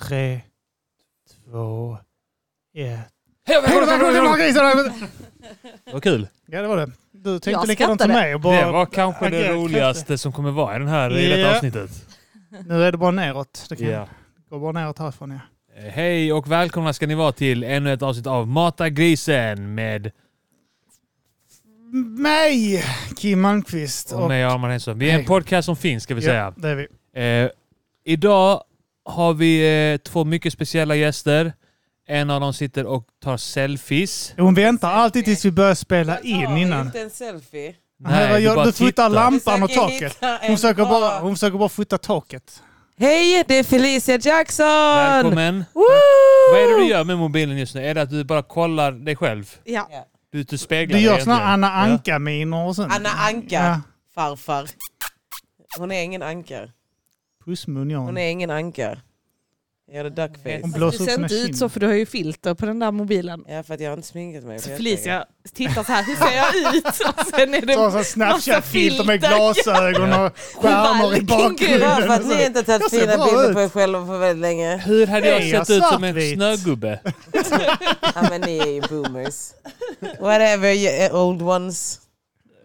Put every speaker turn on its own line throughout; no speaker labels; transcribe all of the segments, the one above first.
Tre, två, ett.
Hej då, välkomna till
Vad kul.
Ja, det var det. Du tänkte
Jag
likadant som
skrattade.
mig. och Bara,
Det var kanske det
agera
roligaste som kommer vara i den här i
Ja.
detta avsnittet.
Nu är det bara neråt. Det kan
Ja.
gå bara neråt härifrån. Ja.
Eh, Hej och välkomna ska ni vara till ännu ett avsnitt av Mata grisen med
Mig, Kim Malmqvist.
och mig Arman Henson. Vi är en
Hej.
podcast som finns ska vi
ja,
säga.
det är vi.
Eh, idag har vi eh, två mycket speciella gäster. En av dem sitter och tar selfies.
Hon väntar alltid tills vi börjar spela in innan.
inte en selfie.
Nej,
du
jag,
bara
du fotar
tittar.
lampan och
Försöker
taket.
hitta en
Hon försöker bara,
bra-
hon försöker bara fota taket.
Hej, det är Felicia Jackson!
Välkommen!
Woo!
Vad är det du gör med mobilen just nu? Är det att du bara kollar dig själv?
Ja.
Du, du speglar
Du
dig
gör
egentligen.
såna Anna
Ja.
Anka-miner och sånt.
Anna Anka,
Ja,
farfar. Hon är ingen anka.
pussmun gör
Hon
hon.
är ingen anka. Jag gör det duckface.
Hon
Alltså,
blåser
du
upp
ser
sina
inte ut
kinder.
så för du har ju filter på den där mobilen.
Ja, för att jag har inte sminkat mig. på
Så
jättelänge.
Felicia tittar så här, hur ser jag ut? Och sen är det...
Så har hon Snapchat-filter med
filter.
glasögon och skärmar i
Vilken
Alltså, Det
bakgrunden.
är bara för att ni inte har
Jag
tagit
ser
fina
bra
bilder
ut.
på er själva för väldigt länge.
Hur hade
Är
jag
jag
sett ut som en
svartvit?
snögubbe?
Ja, men ni är ju boomers. Whatever, you old ones.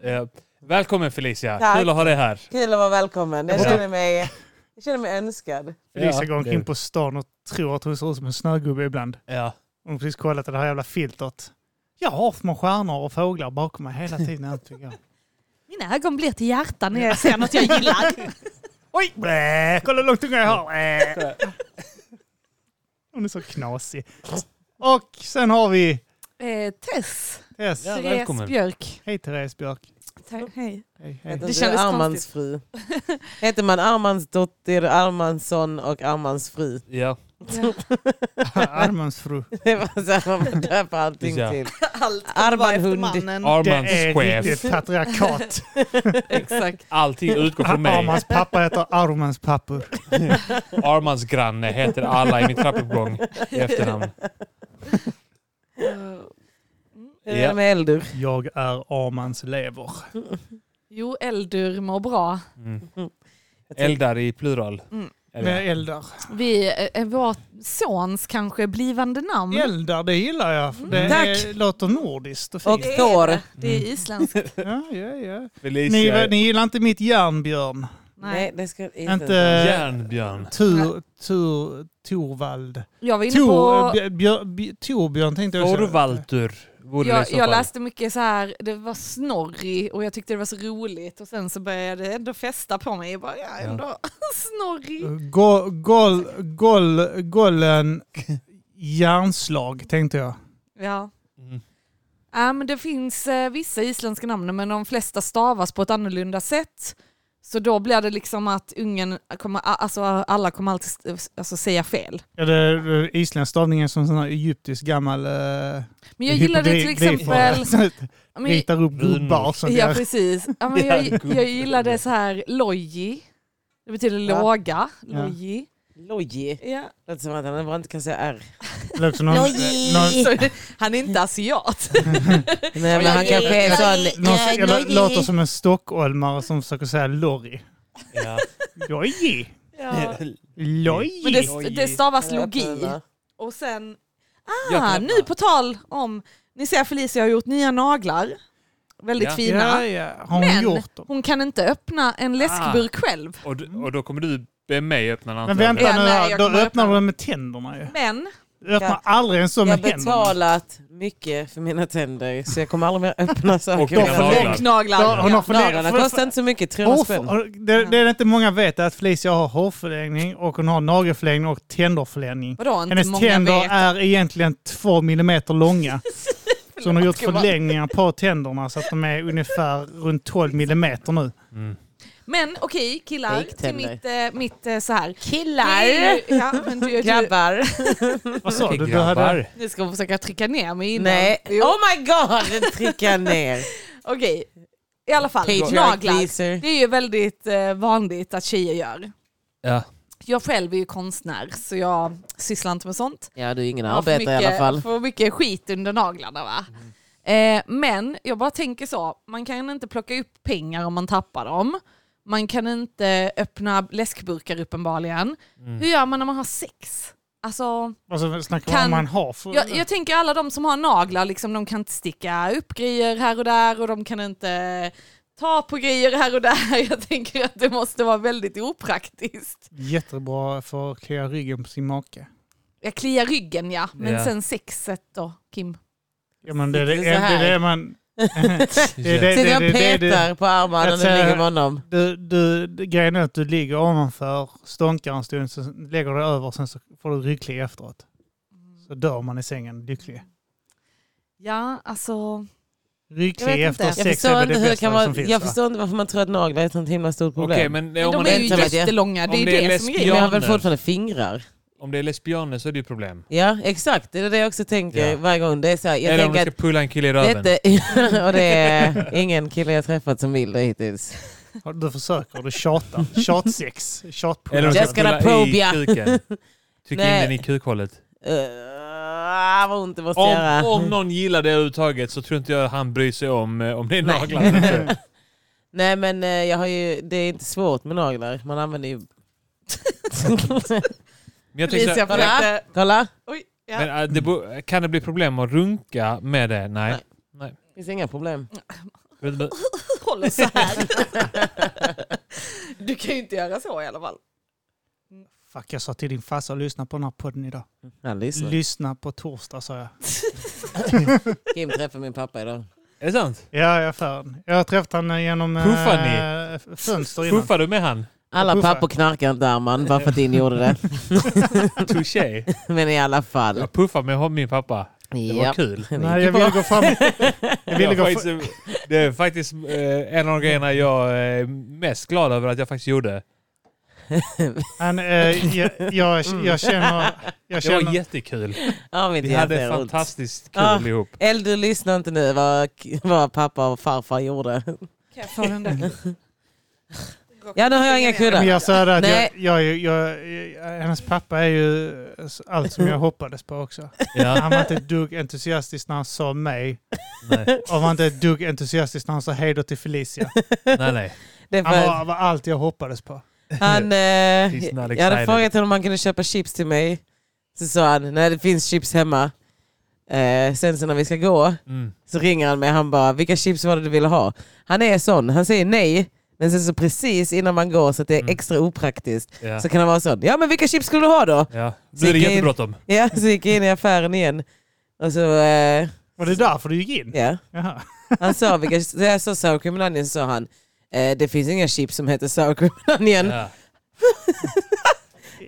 Ja. Eh, Välkommen Felicia,
Tack.
kul att ha dig här.
Kul att vara välkommen. Jag
Ja.
känner mig, jag känner mig önskad.
Lisa går
det-
omkring på stan och tror att hon ser ut som en snögubbe ibland.
Ja.
Hon har precis kollat det här jävla filtret. Jag har små stjärnor och fåglar bakom mig hela tiden. när jag tycker jag.
Mina ögon blir till hjärta när jag ser något jag gillar.
Oj! Blä, kolla hur långt tunga jag har! Blä. Hon är så knasig. Och sen har vi
Eh, Tess,
Tess.
Ja,
Therese
välkommen.
Björk.
Hej Therese Björk.
Ta- Hej.
Hej, hej.
Heter
Det
inte
kändes
Armans fru? Heter man Armans dotter, Armansson och Armans fru?
Ja.
Ja.
Armans fru.
Det var så här man döper allting
Ja.
till.
Allt
Arman
bara efter
Hund.
mannen.
Det
Armands
är
chef.
riktigt patriarkat.
Exakt.
Allting utgår från mig.
Armans pappa heter Armans pappor.
Armands granne heter alla i min trappuppgång i efternamn.
Eh,
Hur är det med Eldur?
Jag är Armans lever.
Jo, Eldur mår bra.
Mm. Eldar i plural.
Mm.
Eller,
Med eldar.
Vi eh, är vår sons kanske blivande namn.
Eldar, det gillar jag.
Mm.
Det
Tack.
är, låter nordiskt och
Och
fint.
Thor?
Det är isländskt.
Ja, ja, ja. Ni,
Felicia,
ni gillar inte mitt järnbjörn?
Nej,
Nej.
det ska inte.
Inte
järnbjörn.
tur, tur, Torvald?
Jag var inne på...
Tor, eh, björ, björ, Torbjörn tänkte jag säga.
Orvaltur vore det i
Jag,
så
jag
fall.
läste mycket så här, det var snorrig och jag tyckte det var så roligt och sen så började det ändå fästa på mig. Jag bara, ja,
Ja.
ändå
Mm.
snorrig.
Go, gol, gol, gollen järnslag tänkte jag.
Ja.
Mm.
Ja, men det finns eh, vissa isländska namn men de flesta stavas på ett annorlunda sätt. Så då blir det liksom att ungen kommer, alltså, alla kommer alltid st- alltså, säga fel.
Ja, det är isländsk stavning är som sån här egyptisk gammal... eh,
Men jag gillade
gri-
till
grifare.
exempel... Ja, men-
Ritar upp gubbar som
Ja
gör...
precis. Ja, men jag, jag gillade så här loji. Det betyder
Ja.
låga. Loji.
Loji.
Ja.
Låter som att han bara inte kan säga R.
Det låter som någon,
Logi.
någon,
Så, han är inte asiat.
Nej, men han kanske är sån...
någon, eller, låter som en stockholmare som försöker säga lorry.
Ja.
Loji!
Men
Loji!
det, det stavas logi. Och sen, ah, nu på tal om, ni ser Felicia har gjort nya naglar. Väldigt
Ja.
fina.
Ja, Ah. ja. Har hon
Men-
gjort dem?
Hon kan inte öppna en läskburk själv.
Och, d- och då kommer du be mig öppna den
Men
antagligen.
vänta
Ja,
nu
nej,
här,
jag
då
kommer
öppnar
öppna-
du den med tänderna ju.
Men,
Du öppnar
Ja.
aldrig en sån
Jag
med
har
händerna.
betalat mycket för mina tänder så jag kommer aldrig mer öppna
Och
saker.
de
med
får
naglar.
och naglar.
Ja, hon har för-
Naglarna
för-
kostar inte så mycket, 300 spänn.
Hårf- det, det är inte många vet är att Felicia har hårförlängning och hon har nagelförlängning och tänderförlängning.
Vadå, inte
Hennes
många
tänder
vet.
är egentligen två millimeter långa. Så hon har gjort
gumman.
förlängningar på tänderna så att de är ungefär runt 12 millimeter nu.
Men okej killar,
Fake
till
tänder.
mitt, eh, mitt eh, så här.
Killar.
Det är ju- Ja, men du, du,
Grabbar.
Vad sa du? du hade,
Grabbar.
nu ska hon försöka trycka ner mig innan.
Nej.
Jo.
Oh my god! Trycka ner.
Okej, i alla fall.
Patriarch
naglar.
pleaser.
Det är ju väldigt eh, vanligt att tjejer gör.
Ja.
Jag själv är ju konstnär så jag sysslar inte med sånt.
Ja, du är ingen
Jag har för
arbetare
mycket,
i alla fall.
för mycket skit under naglarna va. Eh, men jag bara tänker så, man kan inte plocka upp pengar om man tappar dem. Man kan inte öppna läskburkar uppenbarligen. Hur gör man när man har sex? Alltså,
Alltså snackar man
Kan-
om man har för...
jag, jag tänker alla de som har naglar, liksom, de kan inte sticka upp grejer här och där och de kan inte ta på grejer här och där. Jag tänker att det måste vara väldigt opraktiskt.
Jättebra för att klia ryggen på sin make.
Jag kliar ryggen ja, men
Ja.
sen sexet då, Kim?
Ja, men det, är det,
Sitter
det,
så här.
är det man... Det är det-
Sitter jag och
det- det- det-
petar på armarna
Jag
när du ligger
säger-
med honom.
Du, du, det- grejen är att du ligger ovanför, stånkar en stund, så lägger du över, sen så får du rycklig efteråt. Så
Mm.
dör man i sängen lycklig.
Ja, alltså. Jag
Rycklig
vet
efter
inte.
Jag
sex
förstår,
är väl
inte
det
hur det
bästa
kan vara,
som finns.
jag
va?
förstår inte varför man tror att naglar är ett sånt himla stort problem.
Okej, men om
Men
man
de är ju
inte vet
är
jag.
jättelånga, det är
Om
ju
det är
det som är
men
grejen.
jag har väl
Pianer.
fortfarande fingrar.
om det är lesbianer så är det ju problem.
Ja, exakt. Det är det jag också tänker
Ja.
varje gång. Det är så här, jag
Eller om du
tänker
ska pulla en kille i
att
röven.
detta, och det är ingen kille jag träffat som vill det hittills.
Ja, Du försöker, du tjatar. Tjatsex. Tjatpå.
Eller om du
Jag
ska
ska
pulla
probe,
i
ja.
kuken. Tryck in
Nej.
den i kukhålet.
Uh, vad ont det måste
Om,
göra.
om någon gillar det överhuvudtaget så tror inte jag han bryr sig om, eh, om det är
Nej.
naglar. eller inte.
Nej men eh, jag har ju, det är inte svårt med naglar. Man använder ju...
Men jag tänker så här,
Kolla! Kolla!
Oj, ja.
men, eh, det bo- kan det bli problem att runka med det? Nej.
Nej. Det finns inga problem.
håller så här. Du kan ju inte göra så i alla fall.
Fuck, jag sa till din farsa att lyssna på den här podden idag.
Han lyssnar.
Lyssna på torsdag, sa jag.
Kim träffade min pappa idag.
Är det sant?
Ja, jag är fan. Jag har träffat honom genom eh,
Puffar
fönster innan.
Puffar du med han?
Alla
Puffa.
pappor knarkar inte Arman, bara för att din gjorde det.
Touché.
Men i alla fall.
Jag puffar med min pappa. Det var
Ja.
kul.
Det
Nej,
gick
jag
bra.
ville gå fram. Jag ville
Jag
gå
har
fram.
faktiskt, det är faktiskt eh, en av de grejerna jag är mest glad över att jag faktiskt gjorde.
Han, eh, jag, jag,
Mm.
jag känner... Jag
Det
känner
var jättekul.
Ja, mitt
Vi hade
hjärta är ont.
fantastiskt kul
Ah.
ihop.
Eller du lyssnar inte nu vad, vad pappa och farfar gjorde.
Kan jag få den där?
Ja, nu har jag inga kuddar.
men jag sa det att
Nej.
jag, jag, jag, jag, hennes pappa är ju allt som jag hoppades på också.
Ja,
Han var inte ett dugg entusiastisk när han sa mig.
nej,
Och han var inte ett dugg entusiastisk när han sa hej då till Felicia.
nej, nej.
Det är
Han
för,
var, var allt jag hoppades på.
han,
He's not
eh, jag hade
excited.
frågat honom om han kunde köpa chips till mig. Så sa han, nej det finns chips hemma. Eh, sen så när vi ska gå
Mm.
så ringer han mig han bara, vilka chips var det du ville ha? Han är sån, han säger nej. Men sen så precis innan man går så att det är
Mm.
extra opraktiskt
Ja.
så kan han vara sån, ja men vilka chips skulle du ha då?
Ja. Nu är det
Sicka in.
jättebråttom.
Ja, så gick jag in i affären igen. Och så, eh,
Var det därför du gick in?
ja.
Jaha.
Han sa vilka, så jag sa sour cream and onion, sa han. Eh, det finns inga chips som heter sour cream and onion.
Ja.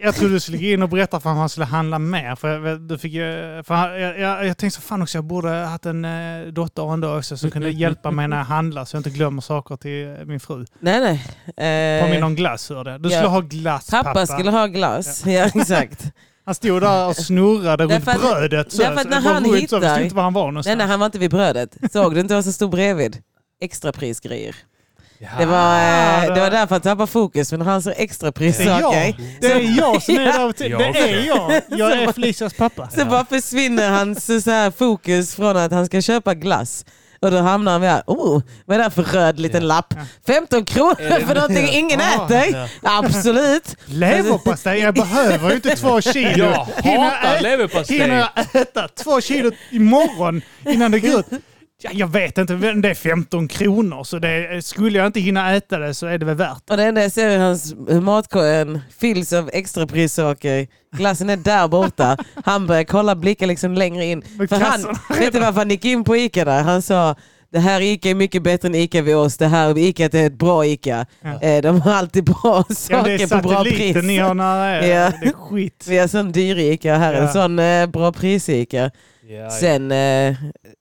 Jag trodde du skulle gå in och berätta för honom att han skulle handla mer. För jag, vet- du fick, ju- för han- jag, jag, jag tänkte så fan också, jag borde ha haft en eh, dotter en dag också som kunde hjälpa mig när jag handlar så jag inte glömmer saker till eh, min fru.
Nej, nej. Eh,
Påminn om glass hörde jag. Du
ja.
skulle ha glass
pappa,
pappa.
skulle ha glass. Ja, exakt.
Han stod där och snurrade runt
Därför att-
brödet. Så,
därför att
så
när
det var runt,
han
så jag
hittar-
visste inte var han var
nej,
någonstans.
nej, han var inte vid brödet. Såg du inte vad som stod bredvid? Extraprisgrejer.
Ja.
Det var, eh,
Ah,
det var
där.
därför han tappade fokus, men han såg
det är jag.
extraprissaker.
Det är jag som är där och tänker,
Jag
Det är jag. Jag är Felicias pappa.
Så bara försvinner hans eh, så här, fokus från att han ska köpa glass. Och då hamnar han där, oh, vad är det här för röd liten
Ja.
lapp? 15 kronor för någonting ingen
Ja.
äter? Absolut!
Leverpastej? Jag behöver ju inte två kilo.
Jag
Hinner jag
hatar
ä-
leverpastej.
Hinner jag äta två kilo imorgon innan det går ut? Ja, jag vet inte, men det är 15 kronor så det, skulle jag inte hinna äta det så är det väl värt.
Och det enda jag ser är hans hur matkorgen fylls av extraprissaker. Glassen är där borta. Han börjar kolla blicken liksom längre in.
Men
För han,
kassan-
vet du varför han gick in på Ica där? Han sa det här Ica är mycket bättre än Ica vid oss. Det här Ica är ett bra Ica.
Ja.
Eh, De har alltid bra
Ja,
saker
det är
på bra pris.
satelliten ni har nära er.
Ja.
Det är skit.
Vi har sån dyr Ica här, en
Ja.
sån eh, bra pris Ica.
Ja, ja.
Sen, eh,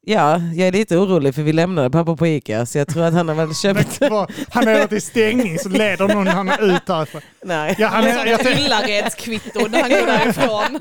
ja, jag är lite orolig för vi lämnade pappa på Ica så jag tror att han har väl köpt...
Det var- Han är till stängning så leder någon han ut därifrån.
Nej.
Ja, han är, jag, tänk,
Ullaredskvitto när han går därifrån.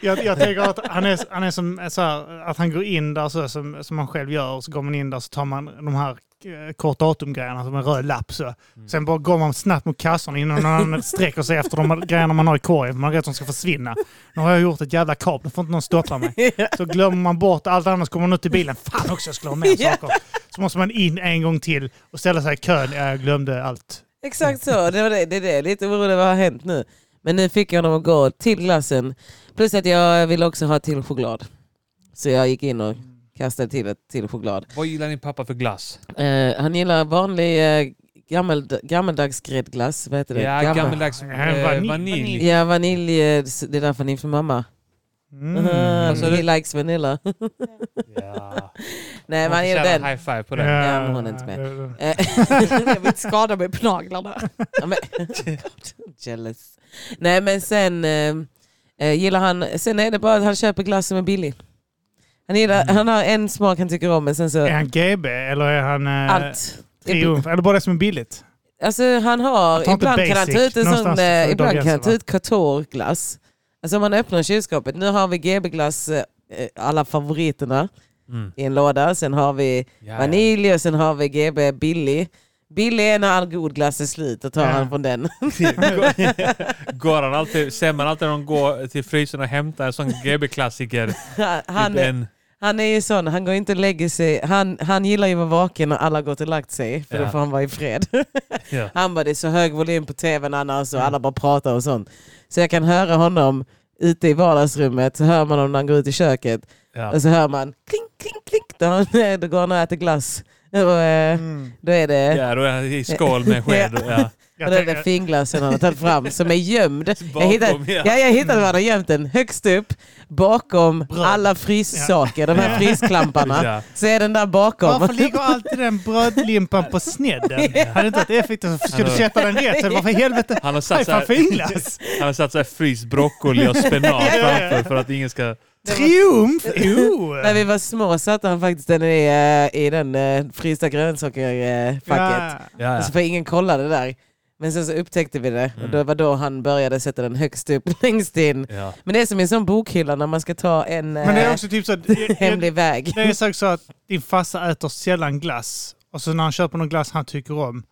jag, jag tänker att han är, han är som så här, att han går in där så, som, som man själv gör. Så går man in där så tar man de här eh, kort datum-grejerna som en röd lapp. Så.
Mm.
Sen bara går man snabbt mot kassorna innan någon annan sträcker sig efter de grejerna man har i korgen. för Man är rädd att de ska försvinna. Nu har jag gjort ett jävla kap, nu får inte någon stoppa mig. Så glömmer man bort allt annat så kommer man ut i bilen. Fan också, jag skulle ha mer saker. Så måste man in en gång till och ställa sig i kön. Ja, Jag glömde allt.
Exakt så, det, var det, det är det. lite orolig vad har hänt nu. Men nu fick jag dem att gå till glassen. Plus att jag ville också ha till choklad. Så jag gick in och kastade till ett till choklad.
Vad gillar din pappa för glass?
Eh, han gillar vanlig eh, gammel, gammeldags gräddglass. Vad heter det?
Ja,
Gammel-
gammeldags
Ja,
eh,
vanilj.
vanilj.
Ja, vanilj. eh, Det är därför ni är från mamma.
Mm.
Vad sa
he
du?
likes vanilla.
Ja.
Nej, man gillar den.
High five på den.
Ja,
men hon är inte med.
det- det-
Jag vill inte skada mig på naglarna.
Ja, men, jealous. Nej men sen eh, eh, gillar han, sen är det bara att han köper glass som är billig. Han, gillar,
Mm. Eh,
han har en smak han tycker om men sen så
Är han GB eller är han eh,
allt.
Triumf? Eller bara det som är billigt?
Alltså han
Jag tar
har,
inte
ibland kan han
basic.
ta ut en sån,
Någonstans
eh,
får
ibland
de
kan han ta
gränserna.
ut Couture-glass. Alltså om man öppnar kylskåpet, nu har vi GB-glass, eh, eh, alla favoriterna
Mm.
i en låda. Sen har vi
Ja,
vanilj och sen har vi GB billig. Billig är när all god glass är slut, då tar
Ja.
han från den.
Går- Går han alltid, ser man alltid när de går till frysen och hämtar en sån GB-klassiker?
Han,
Typ en,
Han är ju sån, han går inte och lägger sig. Han, han gillar ju att vara vaken när alla gått och lagt sig, för
Ja.
då får han vara i fred.
ja.
Han bara, det är så hög volym på tvn annars och alla bara pratar och sånt. Så jag kan höra honom ute i vardagsrummet, så hör man honom när han går ut i köket.
Ja.
Och så hör man kling, kling, kling, då, han, då går han och äter glass. Och, eh,
Mm.
då är det...
ja, då är han i skål med en sked. och- Ja.
Jag
Och den
tänker-
där finglasen han har tagit fram som är gömd. Jag hittade,
ja.
ja. jag hittade var han har gömt den. Högst upp, bakom
Bröd.
alla fryssaker, de här frysklamparna.
Ja.
Så är den där bakom.
Varför ligger alltid den brödlimpan på snedden? Hade det inte varit effektivt så skulle du
Alltså-
sätta den rätt. Så Varför i helvete?
Han har satt
Haj fan
såhär,
finglas!
han har satt såhär fryst broccoli och spenat
Ja, ja, ja.
framför för att ingen ska...
var-
Triumf! Jo!
När vi var små satte han faktiskt den i, eh, i den eh, frysta grönsakerfacket.
Ja.
Ja,
Så för ingen kollade där. Men sen så upptäckte vi det
Mm.
och då var då han började sätta den högst upp, längst in.
ja.
Men det är som i en sån bokhylla när man ska ta en
Men det är
eh,
också typ så att... jag- jag-
hemlig väg.
Det är sagt så att din farsa äter sällan glass. Och så när han köper någon glass han tycker om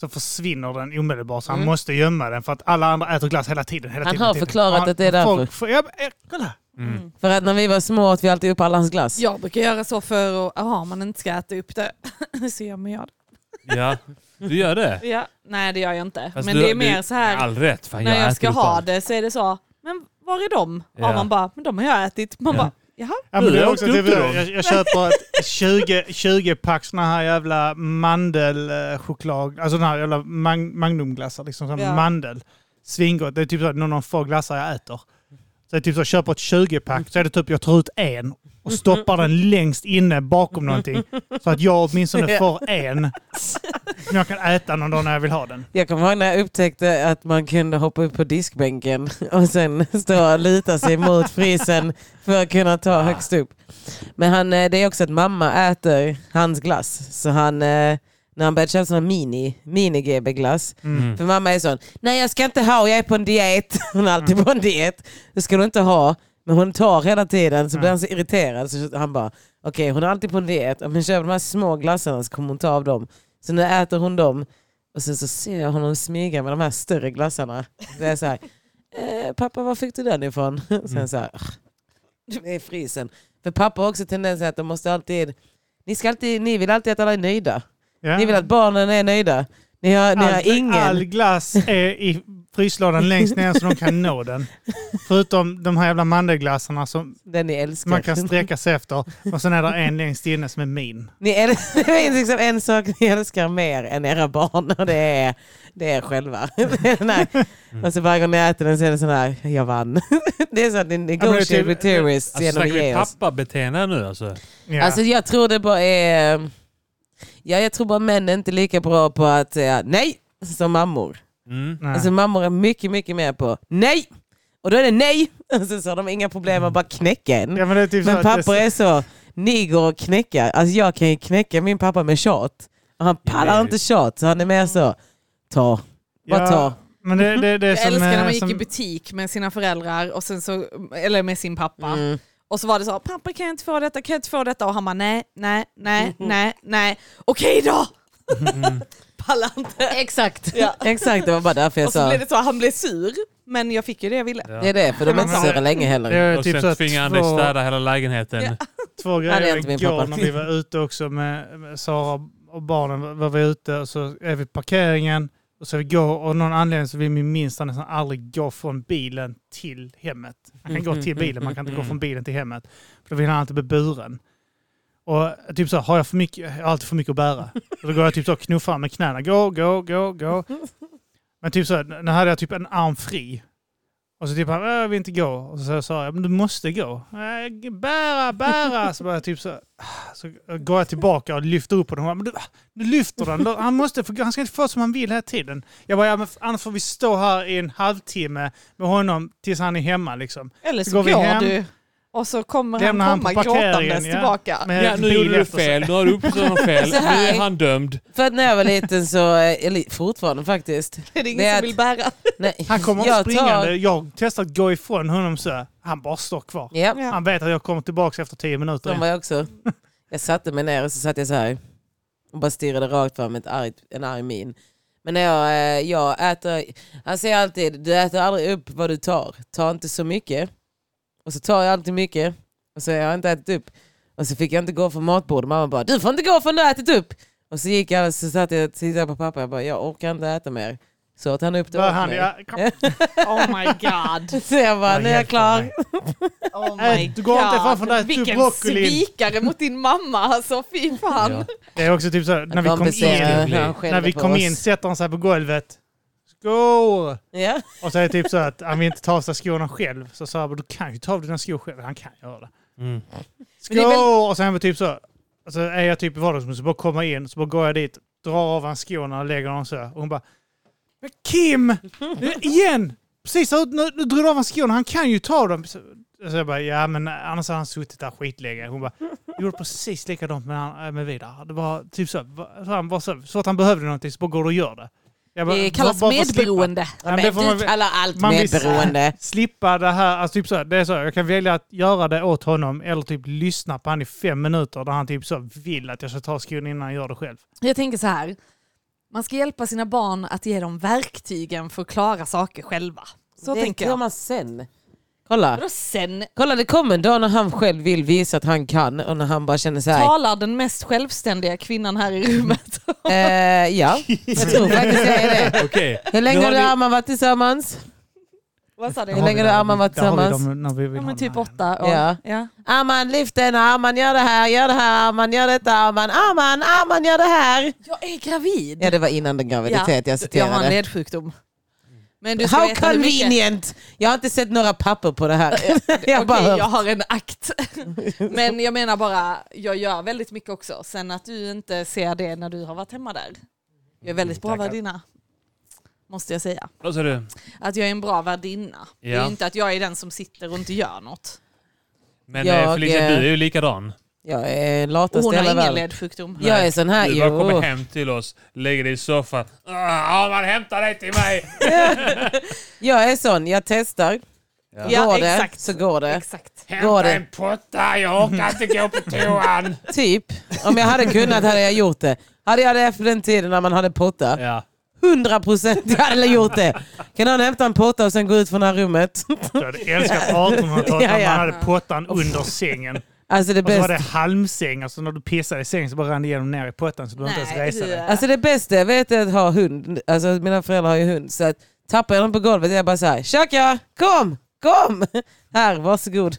så försvinner den omedelbart. Så han
Mm.
måste gömma den för att alla andra äter glass hela tiden. Hela
Han
tiden,
har
hela tiden.
förklarat
Han-
att det är
folk får- ja, men, eh, kolla!
Mm.
För att när vi var små åt vi alltid upp alla hans glass.
Jag brukar göra så för att, aha, om man inte ska äta upp det så gömmer jag
ja. Du gör det?
det. Ja. Nej det gör jag inte.
Fast
Men
du-
det är
du-
mer så här,
All rätt. Fan,
när
jag,
jag
äter
ska
upp
ha
allt.
det så är det så, men var är de?
Ja.
Och man bara, men de har jag ätit. Man
Ja.
bara, jaha.
Ja,
Du,
men det är
jag
också
åkte
typ,
upp i dem.
jag, jag köper ett 20, 20 pack såna här jävla mandelchoklad, alltså den här jävla mag, magnumglassar, liksom som
Ja.
mandel. Svingott. Det är typ så att någon av de få glassar jag äter. Så jag typ så, jag köper ett 20 pack, så är det typ jag tar ut en och stoppar den längst inne bakom någonting. Så att jag åtminstone får en som jag kan äta någon dag när jag vill ha den.
Jag kommer ihåg när jag upptäckte att man kunde hoppa upp på diskbänken och sen stå och luta sig mot frysen för att kunna ta högst upp. Men han, eh, det är också att mamma äter hans glass. Så han, eh, när han började köpa sån här mini, mini-GB-glass. För mamma är sån, nej jag ska inte ha, jag är på en diet. Hon är alltid på en diet. Det ska du inte ha. Men hon tar hela tiden så blir han så irriterad. Så han bara, okej hon är alltid på en diet. Om hon köper de här små glassarna så kommer hon ta av dem. Så nu äter hon dem. Och sen så ser jag honom smyga med de här större glassarna. Det är så här, eh, pappa var fick du den ifrån? Sen så här, "Ah, det är frysen. För pappa har också tendens att de måste alltid, ni, ska alltid, ni vill alltid att alla är nöjda.
Ja.
Ni vill att barnen är nöjda. Ni har, ni har
All- All
ingen.
glass är i fryslådan längst ner så de kan nå den. Förutom de här jävla mandelglassarna som
Den ni
som
älskar.
man kan sträcka sig efter. Och sen är det en längst inne som är min.
Ni älskar, det finns liksom en sak ni älskar mer än era barn och det är, det är er själva. Nej. Och så varje gång ni äter den så är det sån här, jag vann. Det är så att ni negotiate
typ-
with terrorists
Alltså,
genom att
snackar vi
ge oss.
pappabeteende nu alltså?
Ja.
Alltså jag tror det bara är... Ja, jag tror bara män är inte lika bra på att säga nej som mammor.
Mm.
Nej.
Alltså mammor är mycket, mycket mer på nej. Och då är det nej. Och sen så har de inga problem att bara knäcka en.
ja, men det är typ så
Men
att det-
pappa är så, ni går och knäcker. Alltså jag kan ju knäcka min pappa med tjat. Och han pallar
Nej.
inte tjat, så han är mer så, ta. Bara ta.
Men det, det, det är
Jag
som,
älskar när man
eh,
gick
som,
i butik med sina föräldrar, och sen så, eller med sin pappa.
Mm.
Och så var det så, pappa kan jag inte få detta, kan jag inte få detta? Och han bara, nej, nej, nej, nej, nej. Okej då! Pallar inte. Exakt. Ja.
Exakt, det var bara därför jag
Och så
sa.
blev det så, han blev sur, men jag fick ju det jag ville.
Det är det, för de är inte
Ja, men-
sura länge
det
heller.
är
Och
typ så
sen
att
tvingar han dig
två,
städa hela lägenheten.
Ja.
två
Ja, det är
grejer
inte min
igår
pappa.
när vi var ute också med, med Sara och barnen. var- var vi ute och så är vi på parkeringen Och så går, och av någon anledning så vill min minsta nästan aldrig gå från bilen till hemmet. Han kan gå till bilen, man kan inte gå från bilen till hemmet. För då vill han alltid bli buren. Och typ så här, har jag för mycket, jag har alltid för mycket att bära. Och då går jag typ så och knuffar med knäna. Gå, gå, gå, gå. Men typ så här, nu hade jag typ en arm fri. Och så typ han, "Äh, jag vill inte gå. Och så sa jag, men du måste gå. "Äh, Bära, bära. Så bara typ så, här, "Ah." så går jag tillbaka och lyfter upp honom. Men du, du lyfter den. Då- Han, måste, få- han ska inte få som han vill hela tiden. Jag bara, ja, men annars får vi stå här i en halvtimme med honom tills han är hemma. Liksom.
Eller så
Går
går,
vi hem?
du och så kommer
Lämnar han
han
på
komma
parkeringen,
gråtandes
ja.
Ah,
tillbaka.
Med
Ja,
en
nu
bil
gjorde du
efter sig.
fel. Nu har du uppstått honom fel.
Så
Nu
här
är
är-
han dömd.
För att när jag var liten så, eh, eller fortfarande faktiskt.
Det är ingen
Det är
som
att-
vill bära.
Nej.
Han kommer
Jag tar-
springande. Jag testar att gå ifrån honom så. här. Han bara står kvar.
Ja,
Han vet att jag kommer tillbaka efter tio minuter.
de var jag också. Jag satte mig ner och så satt jag så här och bara stirrade rakt fram med ett argt, en arg min. Men när jag, eh, jag äter, han säger alltid du äter aldrig upp vad du tar. Ta inte så mycket. Och så tar jag alltid mycket och så har jag inte ätit upp. Och så fick jag inte gå från matbordet. Mamma bara du får inte gå förrän du har ätit upp. Och så gick jag och så satt jag och tittade på pappa och bara jag orkar inte äta mer. Så åt han upp det
Bara
åt
han,
mig.
ja, kom.
Oh my god.
Så jag bara nu är jag klar.
Oh
Äh, du går inte ifrån från det här
Vilken
broccolin.
svikare mot din mamma alltså. Fy fan.
Ja.
Det är också typ så här, när vi kom
Kompenserar
in,
in-
när han
när
skällde
vi
på
kom
oss.
in sätter han sig på golvet. Skål!
Ja.
Och så är det typ så att han vill inte ta av sig skorna själv. Så sa jag, du kan ju ta av dina skor själv. Han kan göra det.
Mm.
Skål!
Men det är väl-
Och sen var det typ så. Alltså är jag typ i vardagsrummet så bara kommer jag in, så bara går jag dit, drar av hans skorna och lägger dem så. här. Och hon bara, men Kim! Nu Igen! Precis, nu, nu, nu drog du av hans skorna, han kan ju ta dem. Så, så jag bara, ja men annars har han suttit där skitlänge. Hon bara, jag gjorde precis likadant med, han- äh, med Vidar. Det var typ så, va- så, han bara så, så att han behövde någonting så bara går du och gör det. Jag bara,
Det kallas
bara- bara för att slippa.
medberoende.
Ja, men det får man
du
väl-
kallar allt
man vill-
medberoende.
slippa det här. Alltså typ så, här, det är så, här, jag kan välja att göra det åt honom eller typ lyssna på han i fem minuter där han typ så vill att jag ska ta skon innan han gör det själv.
Jag tänker så här. Man ska hjälpa sina barn att ge dem verktygen för att klara saker själva. Så
det
tänker
gör
jag.
man sen. Kolla.
Vadå sen?
Kolla det kommer en dag när han själv vill visa att han kan och när han bara känner så här.
Talar den mest självständiga kvinnan här i rummet.
Eh, ja, jag tror faktiskt jag är det.
Okej.
Hur länge
Nu
har
har
du
ni-
och Arman varit tillsammans?
Vad sa du?
Hur länge har du och Arman varit
Där har vi
tillsammans?
dem när vi vill
Ja,
ha
men
den
typ
här.
åtta år.
Ja.
Ja.
Arman lyft den, Arman gör det här, gör det här, Arman gör detta, Arman, Arman, Arman gör det här.
Jag är gravid.
Ja det var innan den graviditet jag
jag har en
citerade.
ledsjukdom. Men du ska
How
veta hur mycket-
convenient! Jag har inte sett några papper på det här. jag
Okej,
bara
jag har en akt. Men jag menar bara, jag gör väldigt mycket också. Sen att du inte ser det när du har varit hemma där. Jag är väldigt bra
Tackar.
värdinna. Måste jag säga.
Vad sa du?
Att jag är en bra värdinna. Det är
Ja.
ju inte att jag är den som sitter och inte gör något.
Men
Jag,
eh, Felicia,
eh,
du är ju likadan.
Jag är
Och
latast
hon
i
har
hela
ingen
världen.
ledsjukdom.
Jag är sån här,
Du bara kommer
jo.
hem till oss, lägger dig i soffan. Ah, Arman hämtar dig till mig!
Jag är sån, jag testar.
Ja,
går det
exakt.
så går det.
Exakt.
Går
Hämta
det?
en potta, jag orkar inte gå på toan!
Typ. Om jag hade kunnat hade jag gjort det. Hade jag det på den tiden när man hade potta?
Ja.
100 procent jag hade gjort det. Kan någon hämta en potta och sen gå ut från det här rummet?
Jag hade älskat 1800-talet
Ja,
när
ja.
man hade pottan under sängen.
Alltså det
Och så var det
bästa.
halmsäng, alltså när du pissade i sängen så bara rann det igenom ner i pottan så du behövde inte ens resa
eh,
dig.
Alltså det bästa jag vet är att ha hund. Alltså mina föräldrar har ju hund. Så att tappar jag dem på golvet jag bara så här, Tjaka, kom, kom! Här, varsågod.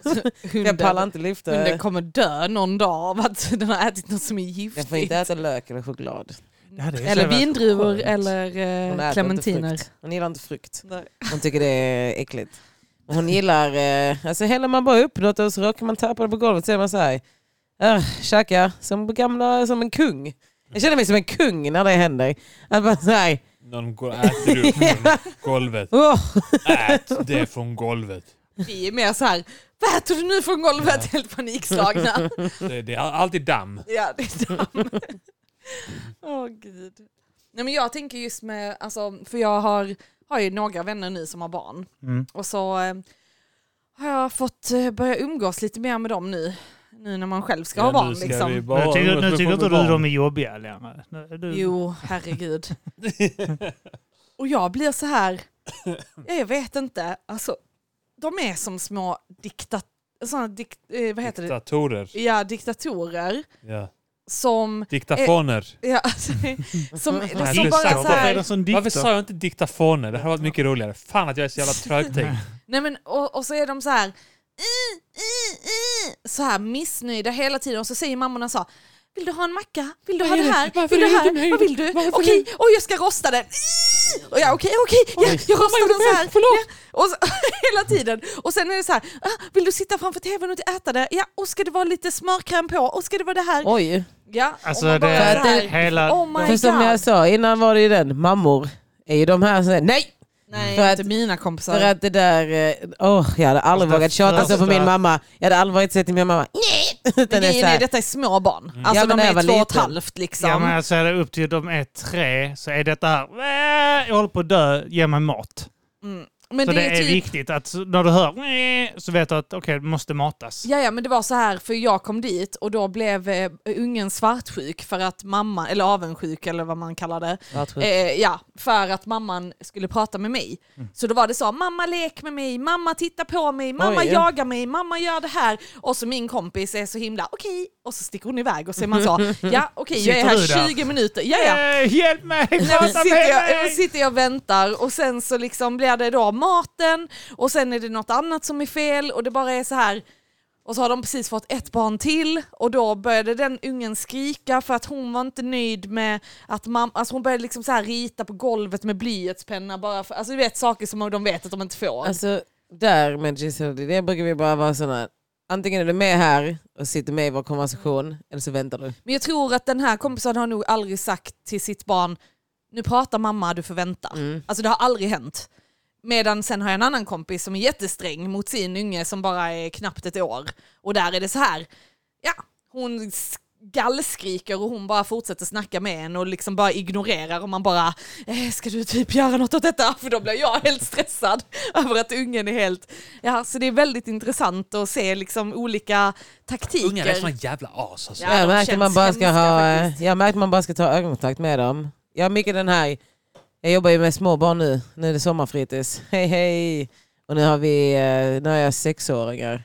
Jag pallar
hunden,
inte lyfta.
hunden kommer dö någon dag av att den har ätit något som är
Jag får
giftigt.
inte äta lök eller choklad.
Det hade ju så
Eller
varit
vindruvor
skönt.
eller eh,
Hon äter inte
clementiner.
frukt. Hon gillar inte frukt.
Nej.
Hon tycker det är äckligt. Och Hon gillar, eh, alltså häller man bara upp något och så råkar man tappa det på golvet så är man så här, "Ugh, tjacka, som, gamla, som en kung. Jag känner mig som en kung när det händer. Att man så här,
Någon går, äter du från golvet.
"Åh."
Ät det från golvet.
Vi är mer så här, vad äter du nu från golvet? Helt panikslagna.
eh, Det, det är alltid damm.
ja, det är damm. Åh gud. Nej, men jag tänker just med, alltså, för jag har, har ju några vänner nu som har barn.
Mm.
Och så eh, har jag fått eh, börja umgås lite mer med dem nu. Nu när man själv ska ha barn. liksom.
vi bara
Men jag tycker,
umgås
nu
med
tycker inte du
barn.
de är jobbiga längre. Nu är du-
Jo, herregud. och jag blir så här, ja, jag vet inte, alltså de är som små diktat, såna dikt, eh, vad heter
Diktatorer.
det? Ja, diktatorer
Ja.
som...
Diktafoner.
Ja, alltså, Mm. som,
Nej,
som
det är
bara så
sant. Varför är
här,
det sån
Varför
dikter?
sa jag inte diktafoner? Det här hade varit mycket roligare. Fan att jag är så jävla trögtänkt.
nej men, och, och så är de så här, "I, i, i", så här missnöjda hela tiden och så säger mammorna så här, vill du ha en macka? Vill du ha det här? vill du här? Vad vill du? Okej, oj jag ska rosta den. "I!" Och jag, okej, okej, ja, jag rostar den så här. Ja, och så, hela tiden. Och sen är det så här, "Ah, vill du sitta framför tvn och inte äta det? Ja, och ska det vara lite smörkräm på? Och ska det vara det här?
Oj.
Ja,
Alltså,
och man bara
det-
är så här,
Hela...
Oh my
För som
God.
jag sa innan var det ju den, mammor är ju de här som säger nej!
Nej,
För
inte
att-
mina kompisar.
För att det där, eh, åh jag hade aldrig
Fast det
vågat tjata så
första-
på min mamma. Jag hade aldrig vågat säga till min mamma nej! Utan det är
grejen
så
är,
här, Mm.
detta är små barn.
Ja,
Alltså
men
de
när jag
är
var
två och ett
liten.
halvt liksom.
Ja, men alltså är det upp till de är tre så är detta här... "Äh, Jag håller på att dö, ge mig mat.
Men
så alltså det, är,
typ,
viktigt att så- när du hör "Meh", så vet du att okej, du måste matas.
Ja, ja, men det var så här, för jag kom dit och då blev eh, ungen svartsjuk för att mamma, eller avundsjuk eller vad man kallar det,
svartsjuk.
eh, ja, för att mamman skulle prata med mig. Så då var det så, mamma lek med mig, mamma titta på mig, mamma
Mm. Oj.
jaga mig, mamma gör det här. Och så min kompis är så himla, okej, och så sticker hon iväg och så är man så, ja okej, jag är
Sitter du där?
här 20 minuter, ja ja.
Eh, hjälp mig!
Nej, men
Prata
sitter,
med
jag,
mig!
eh, sitter jag och väntar och sen så liksom blir det då maten och sen är det något annat som är fel och det bara är så här. Och så har de precis fått ett barn till och då började den ungen skrika för att hon var inte nöjd med att mamma, alltså hon började liksom så här rita på golvet med blyertspenna bara för, alltså du vet saker som de vet att de inte får.
Alltså där med Giselle, det brukar vi bara vara sådana, antingen är du med här och sitter med i vår konversation eller så väntar du.
Men jag tror att den här kompisen har nog aldrig sagt till sitt barn, nu pratar mamma, du får vänta.
Mm.
Alltså det har aldrig hänt. Medan sen har jag en annan kompis som är jättesträng mot sin unge som bara är knappt ett år. Och där är det så här, ja, hon gallskriker och hon bara fortsätter snacka med en och liksom bara ignorerar och man bara, eh, ska du typ göra något åt detta? För då blir jag helt stressad över att ungen är helt, ja, så det är väldigt intressant att se liksom olika taktiker.
Ungar är såna jävla as alltså.
Ja, de
jag, märkte
känns
man bara ska
hemska
ha, eh,
faktiskt.
jag märkte man bara ska ta ögonkontakt med dem. Jag har mycket den här, jag jobbar ju med små barn nu, nu är det sommarfritids. Hej hej! Och nu har vi, eh, nu har jag sexåringar.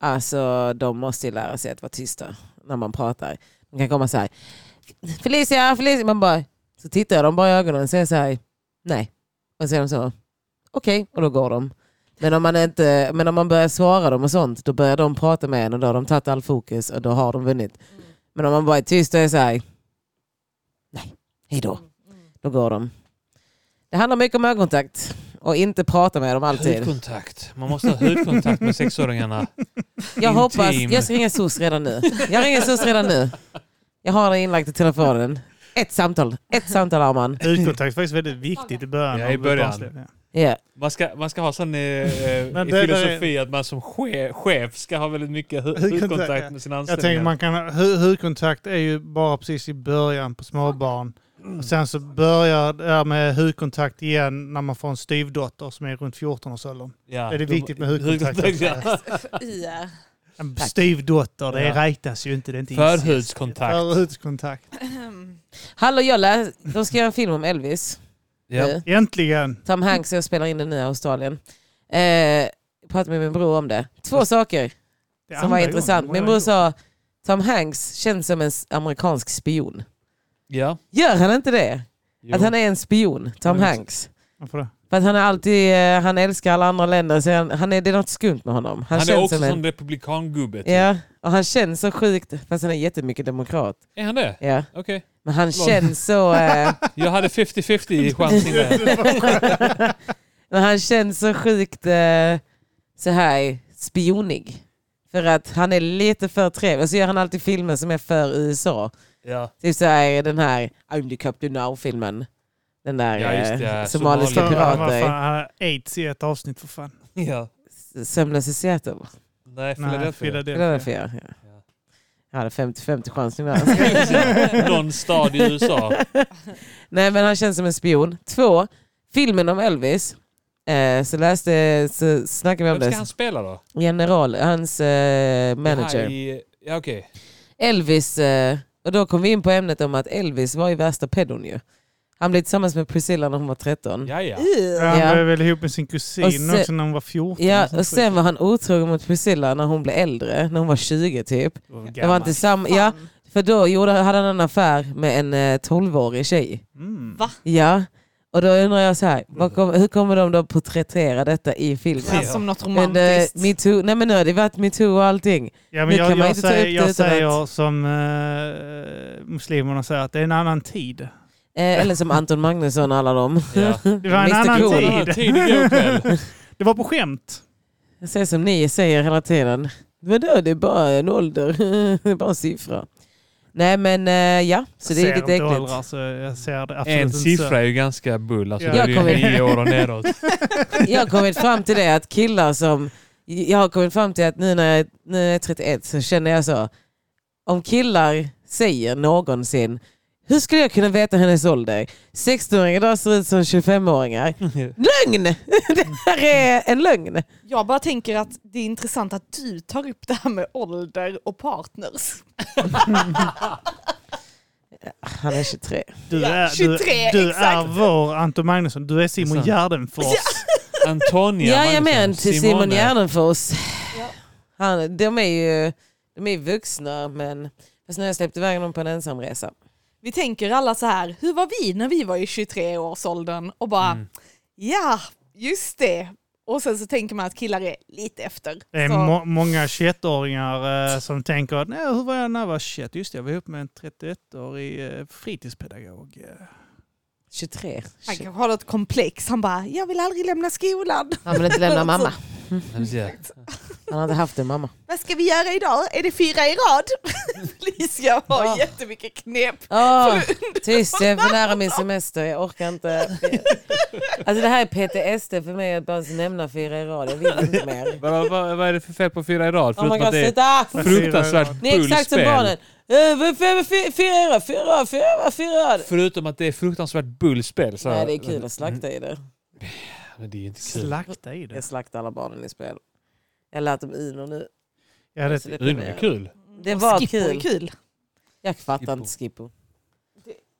Alltså de måste ju lära sig att vara tysta när man pratar. De kan komma så här, Felicia, Felicia, man bara, så tittar jag dem bara i ögonen och säger så här, nej. Och så säger de så, okej, och då går de. Men om, man inte, men om man börjar svara dem och sånt, då börjar de prata med en och då har de tagit all fokus och då har de vunnit. Men om man bara är tyst och är såhär, nej, hejdå, då går de. Det handlar mycket om ögonkontakt och inte prata med dem alltid.
Hudkontakt. Man måste ha hudkontakt med sexåringarna.
Jag hoppas,
Intim.
jag ska ringa SOS redan nu. Jag ringer SOS redan nu. Jag har det inlagt i telefonen. Ett samtal, ett samtal har man.
Hudkontakt är faktiskt väldigt viktigt i början.
Ja, i
av
början.
barnsliv, ja.
Ja.
Man ska, man ska ha sån eh,
Men
i
det-
filosofi att man som chef, chef ska ha väldigt mycket hu-
Hudkontakt,
hudkontakt
ja.
med sina
Jag tänker
anställda.
man kan, hu- hudkontakt är ju bara precis i början på småbarn. Och sen så börjar det här med hudkontakt igen när man får en styvdotter som är runt 14-årsåldern.
Ja.
Är det viktigt med hudkontakt?
hudkontakt? Ja.
Ja.
En styvdotter, det
Ja.
räknas ju inte. Det är inte incest.
Förhudskontakt.
Förhudskontakt.
Hallå, jag läs, de ska göra en film om Elvis.
Ja.
Nu.
Äntligen!
Tom Hanks, jag spelar in den nu i Australien. Eh, jag pratade med min bror om det. Två saker
Det är
som var
andra
intressant.
gången.
Min bror sa, Tom Hanks känns som en s- amerikansk spion.
Eh,
ja.
Gör han inte det?
Jo.
Att han är en spion, Tom
Ja, visst.
Hanks.
Varför det?
För att han är alltid, eh, han älskar alla andra länder, så han, han är, det är något skumt med honom.
Han
Han,
är
känns
också
som en...
sån republikangubbe. typ.
Ja, och han känns så sjukt, fast han är jättemycket demokrat.
Är han det?
Ja.
Okej.
Men han
Lol.
känns så... Eh,
Jag hade 50-50 i chansning där.
Men han känns så sjukt eh, så här spionig. För att han är lite för trevlig. Och så gör han alltid filmer som är för USA.
Ja.
Typ så här den här I'm the Captain Now-filmen. Den där
Ja, just det,
eh,
ja.
somaliska
Somalia.
Förra- vad fan,
pirater.
Han hade aids i ett avsnitt för fan.
ja.
eh, Sömnlös i Seattle.
Nej,
Nej,
Philadelphia.
Det var
Philadelphia.
därför jag,
Ja.
jag hade 50-50 chansning där. alltså.
Någon stad i USA.
Nej men han känns som en spion. Två, filmen om Elvis. Eh, så läste, så snackade vi om
Vem ska han
det.
spela då?
General, hans eh,
Det här
manager.
i- Ja, okej.
Elvis, eh, och då kom vi in på ämnet om att Elvis var ju värsta pedon ju. Han blev tillsammans med Priscilla när hon var 13. Ja,
Ja, ja.
Ja, Han
Ja.
blev väl ihop med sin
Och
kusin
se-
också när hon var 14.
och sen var han otrogen mot Priscilla när hon blev äldre, när hon var 20 typ.
Det var
Det var inte samma, ja,
Fan.
För då gjorde, hade han en affär med en eh, 12-årig tjej.
Mm.
Va?
Ja, och då undrar jag så här, vad kom, hur kommer de då porträttera detta i filmen?
Ja, som något
Men, eh,
romantiskt.
metoo, nej men nu har det varit metoo och allting.
Ja,
Nu
men jag,
kan man
jag
inte ta upp
säger,
det
jag
utan
säger som eh, muslimerna säger att det är en annan tid.
Eh, eller som Anton Magnusson och alla dem.
Ja.
Det var en
Mr.
annan
Cool.
tid.
Tid igår kväll.
Det var på skämt.
Jag säger som ni säger hela tiden. Vadå, det är bara en ålder. det är bara en siffra. Nej men eh, ja, så det
Jag
är
ser
lite
inte
äckligt.
åldrar, så jag ser det absolut
En
inte så.
siffra är ju ganska bull. Alltså,
Ja.
det är
Jag
ju
kommer-
nio år och neråt.
Jag har kommit fram till det att killar som... Jag har kommit fram till att nu när jag, nu när jag är 31 så känner jag så. Om killar säger någonsin hur skulle jag kunna veta hennes ålder? 16-åringar idag ser ut som 25-åringar. Lögn! Det här är en lögn.
Jag bara tänker att det är intressant att du tar upp det här med ålder och partners.
Han är 23.
Du
Ja,
är,
23,
du, du är
exakt.
vår Anton Magnusson. Du är Simon
Sant.
Gärdenfors.
Antonia
Jajamän,
Magnusson,
till Simon
Simone.
Gärdenfors.
Ja.
Han, de är ju de är vuxna men fast nu har jag släppt iväg dem på en ensamresa.
Vi tänker alla så här, hur var vi när vi var i 23-årsåldern? Och bara,
Mm.
Mm,
ja, just det. Och sen så tänker man att killar är lite efter.
Det är
Så-
må många 21-åringar eh, som tänker att "Nej, hur var jag när jag var 21? Just det, jag var ihop med en 31-årig eh, fritidspedagog. Eh,
23.
han kanske har något komplex. Han bara, jag vill aldrig lämna skolan.
Han vill inte lämna mamma.
Ja.
Han har inte haft en mamma.
Vad ska vi göra idag? Är det fyra i rad? Felicia har
Ja.
jättemycket knep.
Åh, Ah, tyst, jag är för nära min semester. Jag orkar inte. Alltså det här är PTSD för mig att bara nämna fyra i rad. Jag vill inte mer.
Vad, vad, vad är det för fel på fyra i rad?
Oh my
Förutom
god,
att det är
sluta!
fruktansvärt
Ni är exakt som
bullspel.
barnen. Eh, vad fan, fy- Fyra i rad, fyra i rad, fyra i rad, fyra i rad.
Förutom att det är fruktansvärt bullspel. Så... Mm,
Nej, det är kul att slakta i det.
Men det är inte kul.
Slakta i det.
Jag slaktar alla barnen i spel. Jag lät dem Uno nu.
Ja, det,
Så det
Det är
kommer
nog
jag-
kul.
Det var
Mm. Skippo är
kul.
kul.
Jag fattar
Skippo.
inte Skippo.